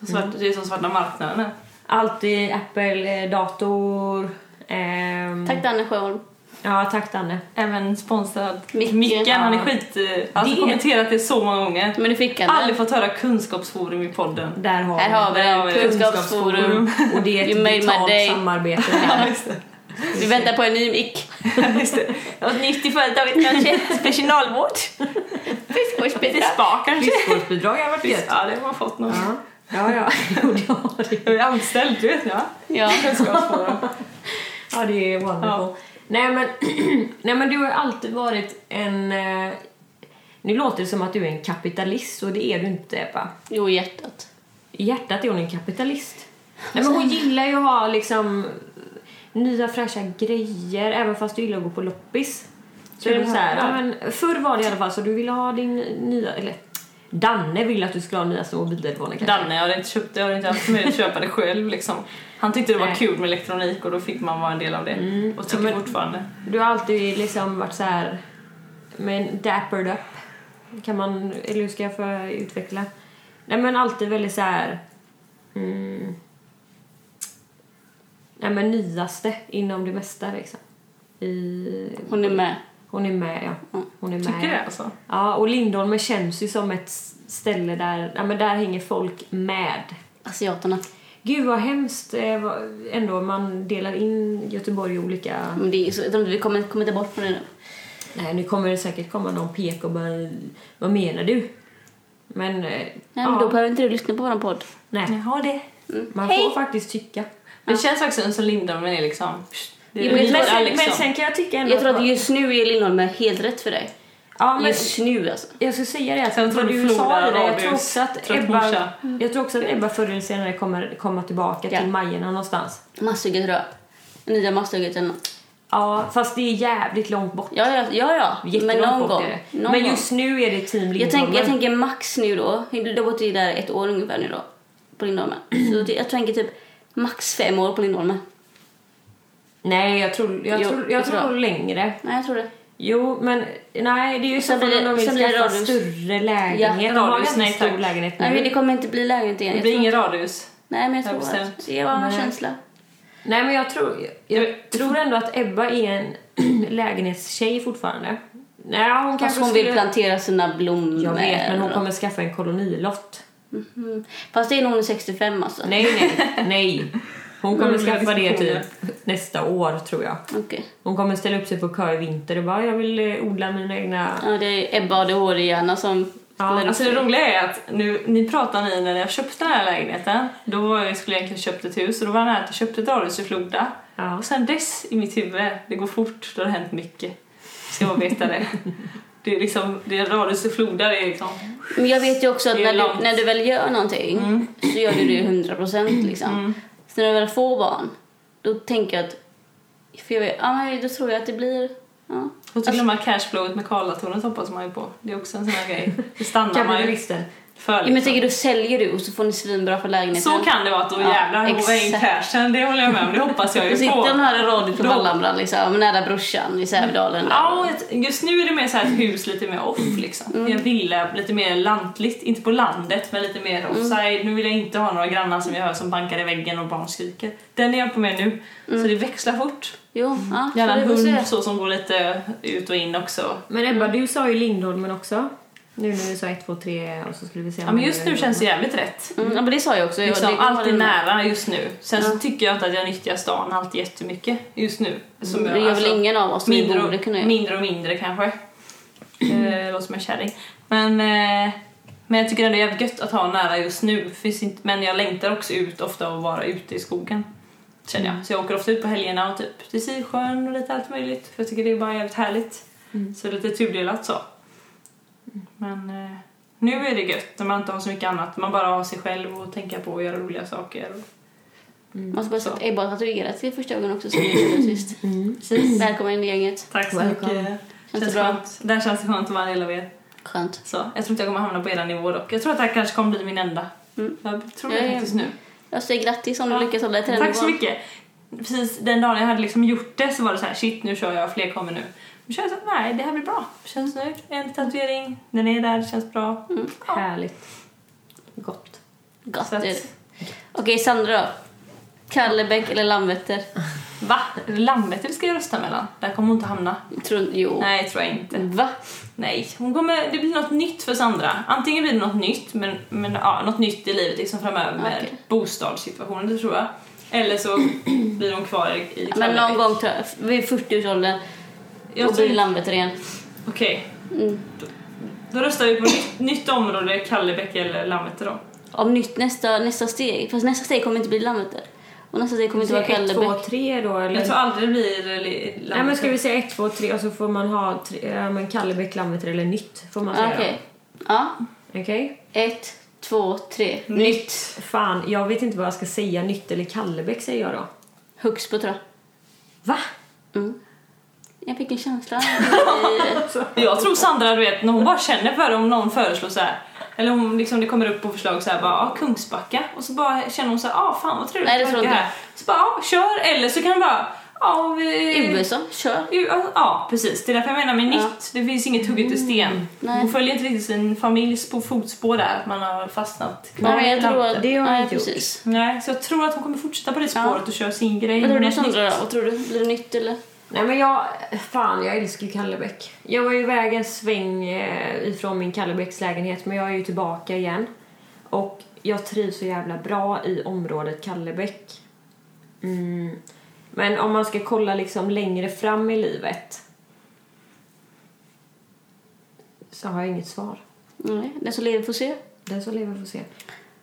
Speaker 3: Svart, Det är som svarta marknaden. är.
Speaker 2: Alltid Apple-dator. eh, Ehm,
Speaker 1: Tack Danne Sjöholm.
Speaker 2: Ja, tack Danne.
Speaker 3: Även sponsrad.
Speaker 1: Micken.
Speaker 3: Micken, han är skit... eh, Alltså
Speaker 2: Det-
Speaker 3: kommenterat det så många gånger.
Speaker 1: Men du fick han
Speaker 3: Aldrig fått höra kunskapsforum i podden.
Speaker 2: Där har
Speaker 1: Här
Speaker 2: vi.
Speaker 1: har vi
Speaker 3: Där har vi
Speaker 1: det.
Speaker 3: det.
Speaker 1: Kunskapsforum.
Speaker 2: Och det är
Speaker 1: You
Speaker 2: ett
Speaker 1: made my
Speaker 2: digitalt
Speaker 1: day.
Speaker 2: samarbete.
Speaker 1: (laughs)
Speaker 3: Ja, just det.
Speaker 1: Vi väntar på en ny mick.
Speaker 3: Just det.
Speaker 1: Något nytt i företaget kanske? Personalvård?
Speaker 3: Lite
Speaker 1: Friskvårdsbidrag?
Speaker 3: spa kanske.
Speaker 2: Friskvårdsbidrag har varit gött.
Speaker 3: Ja, det har man fått någon.
Speaker 2: Ja, ja. ja. (laughs) Jo, det har det.
Speaker 3: Jag är anställd, du vet. Ja.
Speaker 1: Ja.
Speaker 3: Kunskapsforum.
Speaker 2: Ja, det är wonderful.
Speaker 3: Ja.
Speaker 2: Nej, men, (clears throat) nej, men du har alltid varit en... eh, Nu låter det som att du är en kapitalist och det är du inte, Ebba.
Speaker 1: Jo, hjärtat.
Speaker 2: I hjärtat är hon en kapitalist. Nej, men hon gillar ju att ha liksom nya fräscha grejer, även fast du gillar att gå på loppis. Så är det så här, ja, men förr var det i alla fall så du ville ha din nya... Eller, Danne ville att du skulle ha nyaste mobiltelefonen kanske.
Speaker 3: Danne, jag hade inte, köpt, jag hade inte haft möjlighet att köpa det själv. Liksom. Han tyckte det var
Speaker 2: Nej.
Speaker 3: kul med elektronik och då fick man vara en del av det. Och tycker fortfarande.
Speaker 2: Du har alltid liksom varit så här men dappered up. Kan man, eller hur ska jag få utveckla? Nej men alltid väldigt så här mm, Nej men nyaste inom det mesta liksom. I,
Speaker 1: Hon är med.
Speaker 2: hon är med ja. Hon är med.
Speaker 3: Tycker det alltså?
Speaker 2: Ja och Lindholmen känns ju som ett ställe där, ja men där hänger folk med.
Speaker 1: Asiaterna.
Speaker 2: Gud vad hemskt eh, vad- ändå man delar in Göteborg i olika
Speaker 1: Men det är så, jag tror inte vi kommer, kommer inte bort från det nu.
Speaker 2: Nej, nu kommer det säkert komma någon pek och bara Vad menar du? Men... Nej,
Speaker 1: Nej, men då behöver inte du lyssna på vår podd. Mm.
Speaker 2: Nej,
Speaker 3: Jaha, det.
Speaker 2: man
Speaker 1: Hej!
Speaker 2: får faktiskt tycka.
Speaker 3: Det känns också som Lindholmen är liksom... psh, Det
Speaker 1: Jo,
Speaker 3: är
Speaker 1: men jag
Speaker 2: Men
Speaker 1: tror-
Speaker 3: lite,
Speaker 2: sen,
Speaker 3: liksom.
Speaker 2: men sen kan jag tycka ändå
Speaker 1: Jag tror att
Speaker 2: man-
Speaker 1: just nu är Lindholm helt rätt för dig.
Speaker 2: ja, men
Speaker 1: Just nu alltså.
Speaker 2: Jag skulle säga det, att
Speaker 3: Sen tror
Speaker 2: vad
Speaker 3: du
Speaker 2: du sa
Speaker 3: Flora,
Speaker 2: i det, jag tror
Speaker 3: Radius,
Speaker 2: också att
Speaker 3: trött
Speaker 2: Ebba... Mm.
Speaker 3: morsa.
Speaker 2: Jag tror också att Ebba förr eller senare kommer komma tillbaka
Speaker 1: Ja.
Speaker 2: till Majerna någonstans.
Speaker 1: Masthugget röp. Nya Masthugget eller något.
Speaker 2: Ja, fast det är jävligt långt bort.
Speaker 1: Ja, ja, ja. ja. Men
Speaker 2: Jättelångt
Speaker 1: någon
Speaker 2: bort är
Speaker 1: gång.
Speaker 2: det.
Speaker 1: Någon
Speaker 2: Men
Speaker 1: gång.
Speaker 2: just nu är det Team
Speaker 1: Jag, tänk,
Speaker 2: Lindholmen.
Speaker 1: jag tänker max nu då. Du har bott i där ett år ungefär nu då. På Lindholmen. Så det- jag tänker typ max fem år på Lindholmen.
Speaker 2: Nej, jag tror, jag
Speaker 1: Jo,
Speaker 2: tror, jag
Speaker 1: jag
Speaker 2: tror
Speaker 1: tror-
Speaker 2: längre.
Speaker 1: Nej, jag tror det.
Speaker 2: Jo, men nej, det är ju så
Speaker 1: Sen
Speaker 2: fall
Speaker 1: blir
Speaker 2: om
Speaker 1: det-
Speaker 2: de vill
Speaker 1: sen blir det
Speaker 2: skaffa
Speaker 1: radhus.
Speaker 2: större lägenhet.
Speaker 1: Ja,
Speaker 2: de har ju
Speaker 3: radhus,
Speaker 2: en
Speaker 3: nej,
Speaker 2: stor
Speaker 3: tack.
Speaker 2: lägenhet nu.
Speaker 1: Nej, men det kommer inte bli lägenhet igen.
Speaker 3: Det
Speaker 1: Jag
Speaker 3: blir
Speaker 1: tror-
Speaker 3: ingen radhus.
Speaker 1: Nej, men jag
Speaker 3: Jag
Speaker 1: tror
Speaker 3: bestämt.
Speaker 1: att det var en
Speaker 2: Nej.
Speaker 1: känsla.
Speaker 2: Nej, men jag tror, jag, tror ändå att Ebba är en (clears throat) lägenhetstjej fortfarande. Nej, hon
Speaker 1: Fast
Speaker 2: kanske
Speaker 1: hon
Speaker 2: skulle...
Speaker 1: vill plantera sina blommor.
Speaker 2: Jag vet, men hon kommer skaffa en kolonilott.
Speaker 1: Mhm. Fast det är nog hon är 65 alltså.
Speaker 2: Nej, nej, nej. Hon kommer
Speaker 3: Mm,
Speaker 2: skaffa det typ
Speaker 3: diskussioner.
Speaker 2: nästa år, tror jag.
Speaker 1: Okej.
Speaker 2: Hon kommer ställa upp sig på kö i vinter och bara jag vill eh, odla mina egna...
Speaker 1: Ja, det är Ebba och det är hjärna som
Speaker 2: Ja,
Speaker 1: ställer upp
Speaker 3: Alltså det
Speaker 1: sig.
Speaker 3: roliga är att nu, ni pratar ni när jag köpte den här lägenheten. Då var jag, skulle jag egentligen köpt ett hus och då var det här att jag köpte ett radhus i Floda.
Speaker 2: Ja.
Speaker 3: Och sen dess i mitt huvud, det går fort, det har hänt mycket. Ska man veta det. Det är liksom, det är radhus i Floda, det är liksom...
Speaker 1: Men jag vet ju också att
Speaker 3: Det är
Speaker 1: när
Speaker 3: långt. Mm.
Speaker 1: du, när du väl gör någonting så gör du det ju 100 procent liksom. Så när du väl får barn, då tänker jag att... För jag vet, ja, men då tror jag att det blir... Ja.
Speaker 3: Och så glömma cashflowet med Karlatornet hoppas man ju på. Det är också en sån här grej. Det stannar man ju
Speaker 2: Kapitalisten.
Speaker 3: för.
Speaker 1: Ja, men
Speaker 3: Liksom.
Speaker 1: tänker du säljer du och så får ni svinbra för lägenheten.
Speaker 3: Så kan det vara att då
Speaker 1: Ja,
Speaker 3: jävlar håvar in
Speaker 1: exakt.
Speaker 3: cashen, det håller jag med om. Det hoppas (laughs) jag
Speaker 1: Då
Speaker 3: ju
Speaker 1: sitter
Speaker 3: på.
Speaker 1: hon här i radio på
Speaker 3: Då-
Speaker 1: Vallhamran liksom, nära brorsan i Sävedalen. där.
Speaker 3: Ja, och ett- just nu är det mer så här ett hus lite mer off liksom. En villa, lite mer lantligt. Inte på landet, men lite mer offside. Nu vill jag inte ha några grannar som jag hör som bankar i väggen och barn skriker. Den är jag på med nu. Så det växlar fort.
Speaker 1: Jo, ja, så
Speaker 3: Gärna
Speaker 1: det
Speaker 3: en
Speaker 1: får
Speaker 3: Mm. hund
Speaker 1: se.
Speaker 3: så som går lite ut och in också.
Speaker 2: Men Ebba, du sa ju Lindholmen också. Nu när du sa 1, 2, 3 och så skulle vi se om
Speaker 3: Ja, men
Speaker 2: det
Speaker 3: just
Speaker 2: var
Speaker 3: nu känns det
Speaker 2: Lindholmen.
Speaker 3: jävligt rätt.
Speaker 1: Mm, ja, men det sa jag också. Jag,
Speaker 3: Liksom,
Speaker 1: det,
Speaker 3: allt är
Speaker 1: det-
Speaker 3: nära just nu. Sen så
Speaker 1: Ja.
Speaker 3: tycker jag inte att jag nyttjar stan allt jättemycket just nu. Som
Speaker 1: Mm, Det gör väl
Speaker 3: alltså,
Speaker 1: ingen av oss, men det
Speaker 3: mindre,
Speaker 1: borde
Speaker 3: och,
Speaker 1: kunna göra.
Speaker 3: mindre och mindre kanske. Eh, låter som en kärring. Men, eh, men jag tycker ändå det är jävligt gött att ha nära just nu. Finns inte, men jag längtar också ut ofta och vara ute i skogen. Känner
Speaker 1: Mm.
Speaker 3: jag. Så jag åker ofta ut på helgerna och typ till Sisjön och lite allt möjligt. För jag tycker det är bara jävligt härligt.
Speaker 2: Mm.
Speaker 3: Så lite tudelat så. Men eh, nu är det gött när man inte har så mycket annat. Man bara har sig själv och tänka på och göra roliga saker. Och...
Speaker 1: Man ska bara säga
Speaker 3: Så.
Speaker 1: att Ebba har tatuerat sig första gången
Speaker 3: (clears throat)
Speaker 1: också, som vi gjorde sist.
Speaker 2: Mm.
Speaker 3: Precis.
Speaker 1: Välkommen in i gänget.
Speaker 3: Tack så
Speaker 2: Welcome.
Speaker 3: mycket.
Speaker 1: Känns det
Speaker 3: Känns
Speaker 1: bra?
Speaker 3: skönt. Där känns det skönt att vara en del av er.
Speaker 1: Skönt.
Speaker 3: Så, jag tror inte jag kommer hamna på era nivå dock. Jag tror att det här kanske kommer bli min enda.
Speaker 1: Mm.
Speaker 3: Jag tror
Speaker 1: Ja,
Speaker 3: det
Speaker 1: ja.
Speaker 3: faktiskt nu.
Speaker 1: Jag säger grattis om du
Speaker 3: Ja.
Speaker 1: lyckas hålla dig till den
Speaker 3: Tack så
Speaker 1: nivån.
Speaker 3: mycket. Precis den dagen jag hade liksom gjort det så var det så här, shit nu kör jag, fler kommer nu. Men känns att nej, det här blir bra. Känns nöjd. En tatuering, den är där, känns bra. Ja.
Speaker 2: Härligt. Gott.
Speaker 1: Mm, Gott
Speaker 3: Så att-
Speaker 1: är det. Okej, Sandra då. Kallebäck eller Landvetter?
Speaker 3: Va? Landvetter ska jag rösta mellan. Där kommer hon inte hamna.
Speaker 1: Tror, jo.
Speaker 3: Nej, tror jag inte.
Speaker 1: Va?
Speaker 3: Nej, hon kommer, det blir något nytt för Sandra. Antingen blir det något nytt, men, men ja, något nytt i livet liksom framöver med
Speaker 1: Okej.
Speaker 3: bostadssituationen, det tror jag.
Speaker 1: (clears throat)
Speaker 3: Eller så blir hon kvar i- i
Speaker 1: Men någon
Speaker 3: Kallebäck.
Speaker 1: gång tror jag, vid 40-årsåldern
Speaker 3: Jag
Speaker 1: och
Speaker 3: tror-
Speaker 1: blir Landvetter igen.
Speaker 3: Okej,
Speaker 1: Mm.
Speaker 3: då röstar vi på nytt, nytt område, Kallebäck eller Landvetter då.
Speaker 1: Om nytt nästa, nästa steg. Fast nästa steg kommer inte bli Landvetter. Och nästa steg kommer inte vara
Speaker 2: 1, 2,
Speaker 1: Kallebäck.
Speaker 2: 3 då eller?
Speaker 3: Jag tror aldrig det blir li- Landvetter.
Speaker 2: Nej men ska vi säga 1, 2, 3 och så får man ha tre, ja, men Kallebäck, Landvetter eller nytt får man säga
Speaker 1: Ja,
Speaker 2: då.
Speaker 1: Ah, Okej. Ja.
Speaker 2: Okej?
Speaker 1: Ett, två, tre.
Speaker 3: Nytt.
Speaker 2: Fan, jag vet inte vad jag ska säga. Nytt eller Kallebäck säger jag då.
Speaker 1: Huxbo tror jag.
Speaker 2: Va?
Speaker 1: Mm. Jag fick en
Speaker 3: (laughs)
Speaker 1: känsla.
Speaker 3: Jag tror Sandra, du vet, när hon bara känner för det, om någon föreslår så här. Eller om liksom det kommer upp på förslag så här, bara, ah, Kungsbacka. Och så bara känner hon så här, ah fan vad trevligt
Speaker 1: Nej, det
Speaker 3: att
Speaker 1: tror
Speaker 3: åka
Speaker 1: inte
Speaker 3: här. Så bara, ah, kör. Eller så kan hon bara, ah, vi...
Speaker 1: USA, kör.
Speaker 3: Ju- Ja, ja, precis. Det är därför jag menar med nytt. Det finns inget hugget i sten.
Speaker 1: Mm. Nej.
Speaker 3: Hon följer inte riktigt sin familjs på fotspår där. att Man har fastnat kvar
Speaker 1: Nej,
Speaker 3: i
Speaker 1: jag tror
Speaker 3: landet.
Speaker 1: att...
Speaker 2: Det har jag
Speaker 1: nej,
Speaker 2: inte gjort.
Speaker 1: precis.
Speaker 3: Nej, så jag tror att hon kommer fortsätta på det spåret och köra sin grej.
Speaker 1: Vad tror du
Speaker 3: Något
Speaker 1: Sandra
Speaker 3: nytt.
Speaker 1: då? Vad tror du? Blir det nytt eller?
Speaker 2: Nej men jag, fan jag älskar ju Kallebäck. Jag var ju iväg en sväng eh, ifrån min Kallebäcks lägenhet men jag är ju tillbaka igen. Och jag trivs så jävla bra i området Kallebäck. Mm. Men om man ska kolla liksom längre fram i livet så har jag inget svar.
Speaker 1: Nej, den som lever får se.
Speaker 2: Den som lever får se.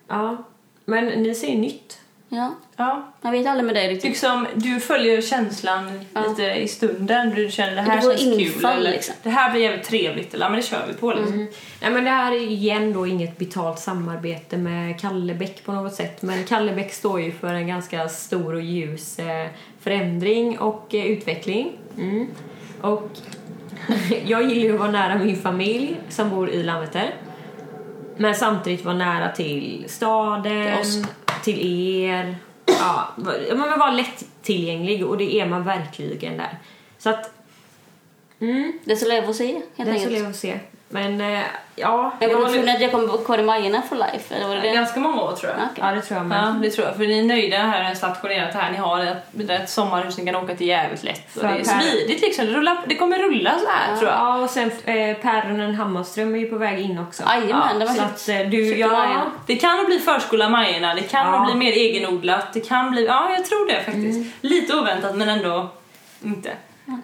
Speaker 2: Ja, men ni säger nytt.
Speaker 1: Ja,
Speaker 3: Ja.
Speaker 1: man vet aldrig med dig riktigt.
Speaker 3: Liksom, du följer känslan
Speaker 1: Ja.
Speaker 3: lite i stunden. Du känner det
Speaker 1: Det
Speaker 3: här
Speaker 1: går
Speaker 3: känns
Speaker 1: infall,
Speaker 3: kul. Eller,
Speaker 1: liksom. Mm.
Speaker 3: Det här blir jävligt trevligt. Eller, ja, men det kör vi på. Liksom.
Speaker 2: Nej men det här är igen då inget betalt samarbete med Kallebäck på något sätt men Kallebäck står ju för en ganska stor och ljus eh, förändring och eh, utveckling. Mm. Och (laughs) jag gillar ju att vara nära min familj som bor i Landvetter men samtidigt vara nära till staden,
Speaker 1: Till oss.
Speaker 2: till er. Ja, va- ja, men vara lätt, tillgänglig och det är man verkligen där. Så att... Mm,
Speaker 1: Det är så lev att se, helt
Speaker 2: det skulle
Speaker 1: enkelt.
Speaker 2: jag se. Men eh, ja,
Speaker 1: Jag
Speaker 2: jag
Speaker 1: kommer
Speaker 2: håller...
Speaker 1: tro att jag kommer vara kvar i Majorna for life, eller vad är det?
Speaker 3: Ganska många år tror jag.
Speaker 1: Ja, okej.
Speaker 2: Ja, det tror jag med.
Speaker 3: Ja, det tror jag. För ni är nöjda här, stationerat här. Ni har ett, ett sommarhus ni kan åka till jävligt lätt. Och det är
Speaker 2: För-
Speaker 3: smidigt liksom. Det, rullar, det kommer rulla så här tror jag.
Speaker 2: Ja, och sen eh, Päronen Hammarström är ju på väg in också.
Speaker 1: Jajamän, det var
Speaker 2: så
Speaker 1: helt-
Speaker 2: att eh, du,
Speaker 1: Cykel var
Speaker 2: ja,
Speaker 1: igen.
Speaker 3: Det kan bli förskola Majorna, det kan
Speaker 2: Ja.
Speaker 3: bli mer egenodlat, det kan bli... Ja, jag tror det faktiskt. Lite oväntat men ändå inte.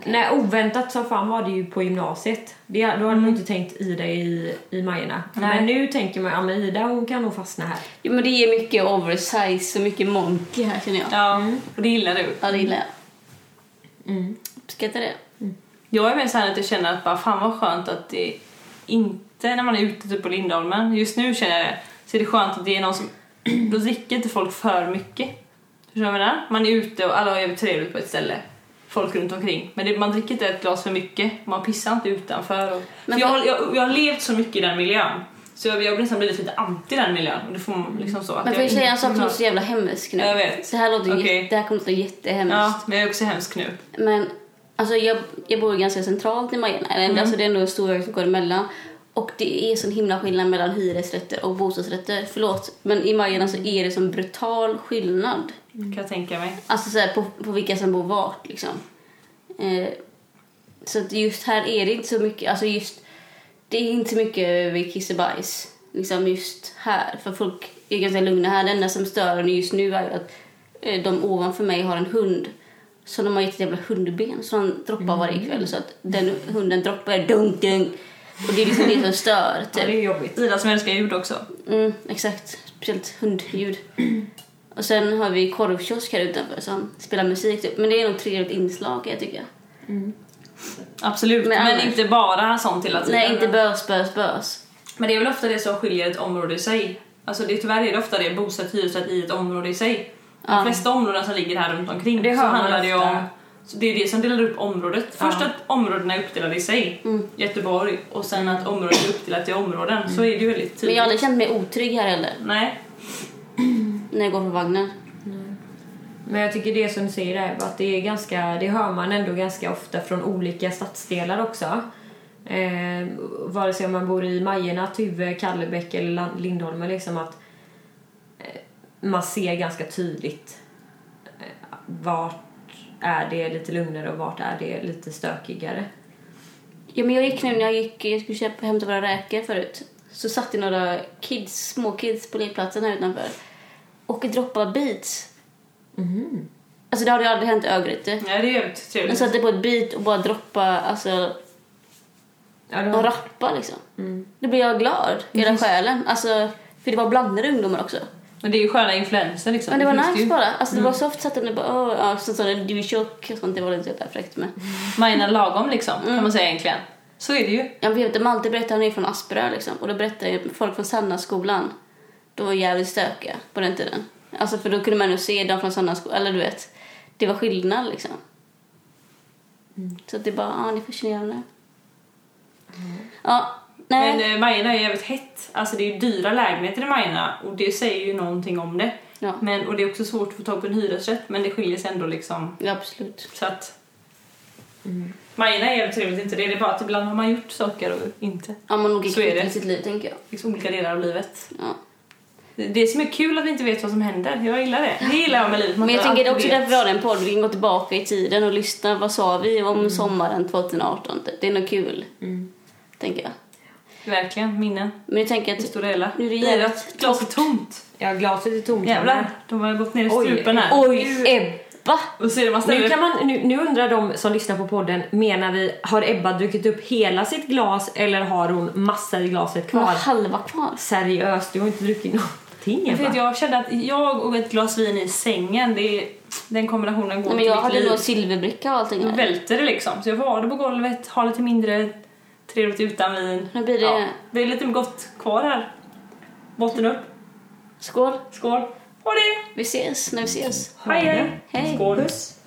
Speaker 2: nej, oväntat så fan var det ju på gymnasiet. Det, då hade
Speaker 1: Mm.
Speaker 2: man inte tänkt Ida i, i Majorna.
Speaker 3: Nej.
Speaker 2: Men nu tänker man, ja men Ida hon kan nog fastna här.
Speaker 1: Jo, men det är mycket oversize och mycket monkey här känner jag.
Speaker 3: Ja, och det gillar du.
Speaker 1: Ja, det gillar jag. Mm. Uppskattar det.
Speaker 3: Jag är mer såhär att jag känner att bara fan vad skönt att det inte, när man är ute typ på Lindholmen, just nu känner jag det, så är det skönt att det är någon som, (clears throat) då dricker inte folk för mycket. Förstår du vad jag menar? Man är ute och alla har ju trevligt på ett ställe. Folk runt omkring. Men det, man dricker inte ett glas för mycket, man pissar inte utanför. Och,
Speaker 1: Men
Speaker 3: för jag,
Speaker 1: vad-
Speaker 3: har- jag, jag har levt så mycket i den miljön. Så jag, jag har nästan blivit lite anti den miljön. Och det får man liksom så. att
Speaker 1: Men får jag
Speaker 3: inte-
Speaker 1: säga en sak som är så jävla hemsk nu?
Speaker 3: Jag vet.
Speaker 1: Det här, låter ju
Speaker 3: Okej.
Speaker 1: jätte, det här kommer att låta jättehemskt.
Speaker 3: Ja, men jag är också hemsk nu.
Speaker 1: Men alltså, jag, jag bor ju ganska centralt i Majorna. eller Alltså, det är ändå en stor väg som går emellan. Och det är sån himla skillnad mellan hyresrätter och bostadsrätter. Förlåt, men i Majorna så är det sån brutal skillnad.
Speaker 3: Kan jag tänka mig.
Speaker 1: Alltså så här, på, på vilka som bor vart liksom. Eh, så att just här är det inte så mycket, alltså just det är inte så mycket vid kiss och bajs. Liksom just här, för folk är ganska lugna här. Det enda som stör en just nu är ju att eh, de ovanför mig har en hund. Så de har gett ett jävla hundben så han droppar varje kväll så att den hunden droppar dunk dunk. Och det är liksom det som stör
Speaker 2: Ja, det
Speaker 1: typ.
Speaker 2: är ju jobbigt.
Speaker 3: Ida som älskar ljud också.
Speaker 1: Mm, exakt. Speciellt hundljud. Och sen har vi korvkiosk här utanför som spelar musik typ. Men det är nog trevligt inslag jag tycker. Mm.
Speaker 3: Absolut, men,
Speaker 1: Men annars-
Speaker 3: inte bara sånt hela tiden.
Speaker 1: Nej, inte bös, bös, bös.
Speaker 3: Men det är väl ofta det som skiljer ett område i sig. Alltså det, tyvärr är det ofta det, bosatt hyresrätt i ett område i sig. De
Speaker 1: Ja.
Speaker 3: flesta områden som ligger här runt omkring
Speaker 2: Det
Speaker 3: så
Speaker 2: hör man
Speaker 3: handlar det ju
Speaker 2: ofta.
Speaker 3: om så det är det som delar upp området. Först att områdena är uppdelade i sig,
Speaker 1: Mm.
Speaker 3: Göteborg, och sen att området är uppdelat i områden. Så är det ju väldigt tydligt.
Speaker 1: Men jag har aldrig känt mig otrygg här heller.
Speaker 3: Nej,
Speaker 1: När jag går på vagnen.
Speaker 2: Men jag tycker det som du säger där, att det är ganska, det hör man ändå ganska ofta från olika stadsdelar också. Eh, vare sig om man bor i Majerna, Tuve, Kallebäck eller Lan- Lindholmen liksom att eh, man ser ganska tydligt eh, vart är det lite lugnare och vart är det lite stökigare.
Speaker 1: Ja, men jag gick nu när jag gick, jag skulle köpa, hämta våra räkor förut. Så satt det några kids, små kids på lekplatsen här utanför. Och droppade beats. Alltså det har ju aldrig hänt i Örgryte.
Speaker 3: Nej det är jävligt
Speaker 1: De
Speaker 3: trevligt.
Speaker 1: satte på ett beat och bara droppade, alltså
Speaker 2: Ja, det
Speaker 1: och
Speaker 2: har,
Speaker 1: rappa liksom.
Speaker 3: Mm.
Speaker 1: Då blir jag glad i hela själen. Alltså, för det var blandade ungdomar också.
Speaker 3: Men det är ju sköna influenser liksom.
Speaker 1: Men det var
Speaker 3: finns
Speaker 1: nice
Speaker 3: ju. Mm.
Speaker 1: bara. Alltså, det var soft så att den bara åh, ja, så sa den du är tjock och sånt. Det var inte så jävla fräckt men.
Speaker 3: Majorna lagom liksom,
Speaker 1: Mm.
Speaker 3: kan man säga egentligen. Så är det ju.
Speaker 1: Jag vet inte, Malte berättade han är från Asperö liksom. Och då berättade ju folk från Sannaskolan. De var jävligt stökiga på den tiden. Alltså för då kunde man ju se dem från Sannaskolan, eller du vet. Det var skillnad liksom.
Speaker 3: Mm.
Speaker 1: Så att det är bara, ja ah, ni är fascinerande. Ja, nej.
Speaker 3: Mm. Men eh, Majorna är jävligt hett. Alltså det är ju dyra lägenheter i Majorna och det säger ju någonting om det.
Speaker 1: Ja.
Speaker 3: Men, och det är också svårt att få tag på en hyresrätt men det skiljer sig ändå liksom.
Speaker 1: ja, absolut.
Speaker 3: Så att...
Speaker 1: Mm.
Speaker 3: Majorna är jävligt trevligt inte det, det är bara att ibland har man gjort saker och inte.
Speaker 1: Ja, man åker
Speaker 3: Så är
Speaker 1: kvitt
Speaker 3: det.
Speaker 1: i sitt liv tänker jag.
Speaker 3: Liksom olika delar av livet.
Speaker 1: Ja.
Speaker 3: Det- Det som är kul att vi inte vet vad som händer, jag gillar det. Det gillar jag med livet. man
Speaker 1: Men jag
Speaker 3: inte
Speaker 1: tänker det är
Speaker 3: alltid
Speaker 1: också
Speaker 3: vet.
Speaker 1: därför vi har en podd. Vi kan gå tillbaka i tiden och lyssna. Vad sa vi om
Speaker 3: Mm.
Speaker 1: sommaren 2018? Det är nog kul. Tänker jag.
Speaker 3: Verkligen, minnen.
Speaker 1: Men jag tänker
Speaker 3: Det
Speaker 1: att...
Speaker 3: stora hela.
Speaker 1: Nu är det
Speaker 3: Lirat,
Speaker 1: jävligt
Speaker 3: glaset tomt.
Speaker 2: ja, glaset är tomt.
Speaker 3: Jävlar, de har gått ner i
Speaker 2: Oj.
Speaker 3: strupen här.
Speaker 1: Oj, Ebba!
Speaker 3: Och så är det man
Speaker 2: Nu,
Speaker 3: ställer
Speaker 2: kan man, nu, nu undrar de som lyssnar på podden, menar vi har Ebba druckit upp hela sitt glas eller har hon massa i glaset
Speaker 1: Hon har
Speaker 2: kvar?
Speaker 1: halva kvar.
Speaker 2: Seriöst, du har inte druckit någonting
Speaker 3: Jag, vet,
Speaker 2: Ebba.
Speaker 3: jag kände att jag och ett glas vin i sängen, det är, den kombinationen går
Speaker 1: Nej, men jag
Speaker 3: till
Speaker 1: hade nog
Speaker 3: mitt liv.
Speaker 1: silverbricka och allting.
Speaker 3: Då
Speaker 1: här.
Speaker 3: välter det liksom. Så jag var det på golvet, har lite mindre trevligt utan vin.
Speaker 1: Nu blir det-
Speaker 3: det är lite gott kvar här. Botten upp,
Speaker 1: Skål!
Speaker 3: skål. Ha det!
Speaker 1: Vi ses när vi ses.
Speaker 2: Ha
Speaker 3: Hej
Speaker 2: det.
Speaker 3: hej!
Speaker 1: Hej!
Speaker 3: Skål!
Speaker 2: Puss.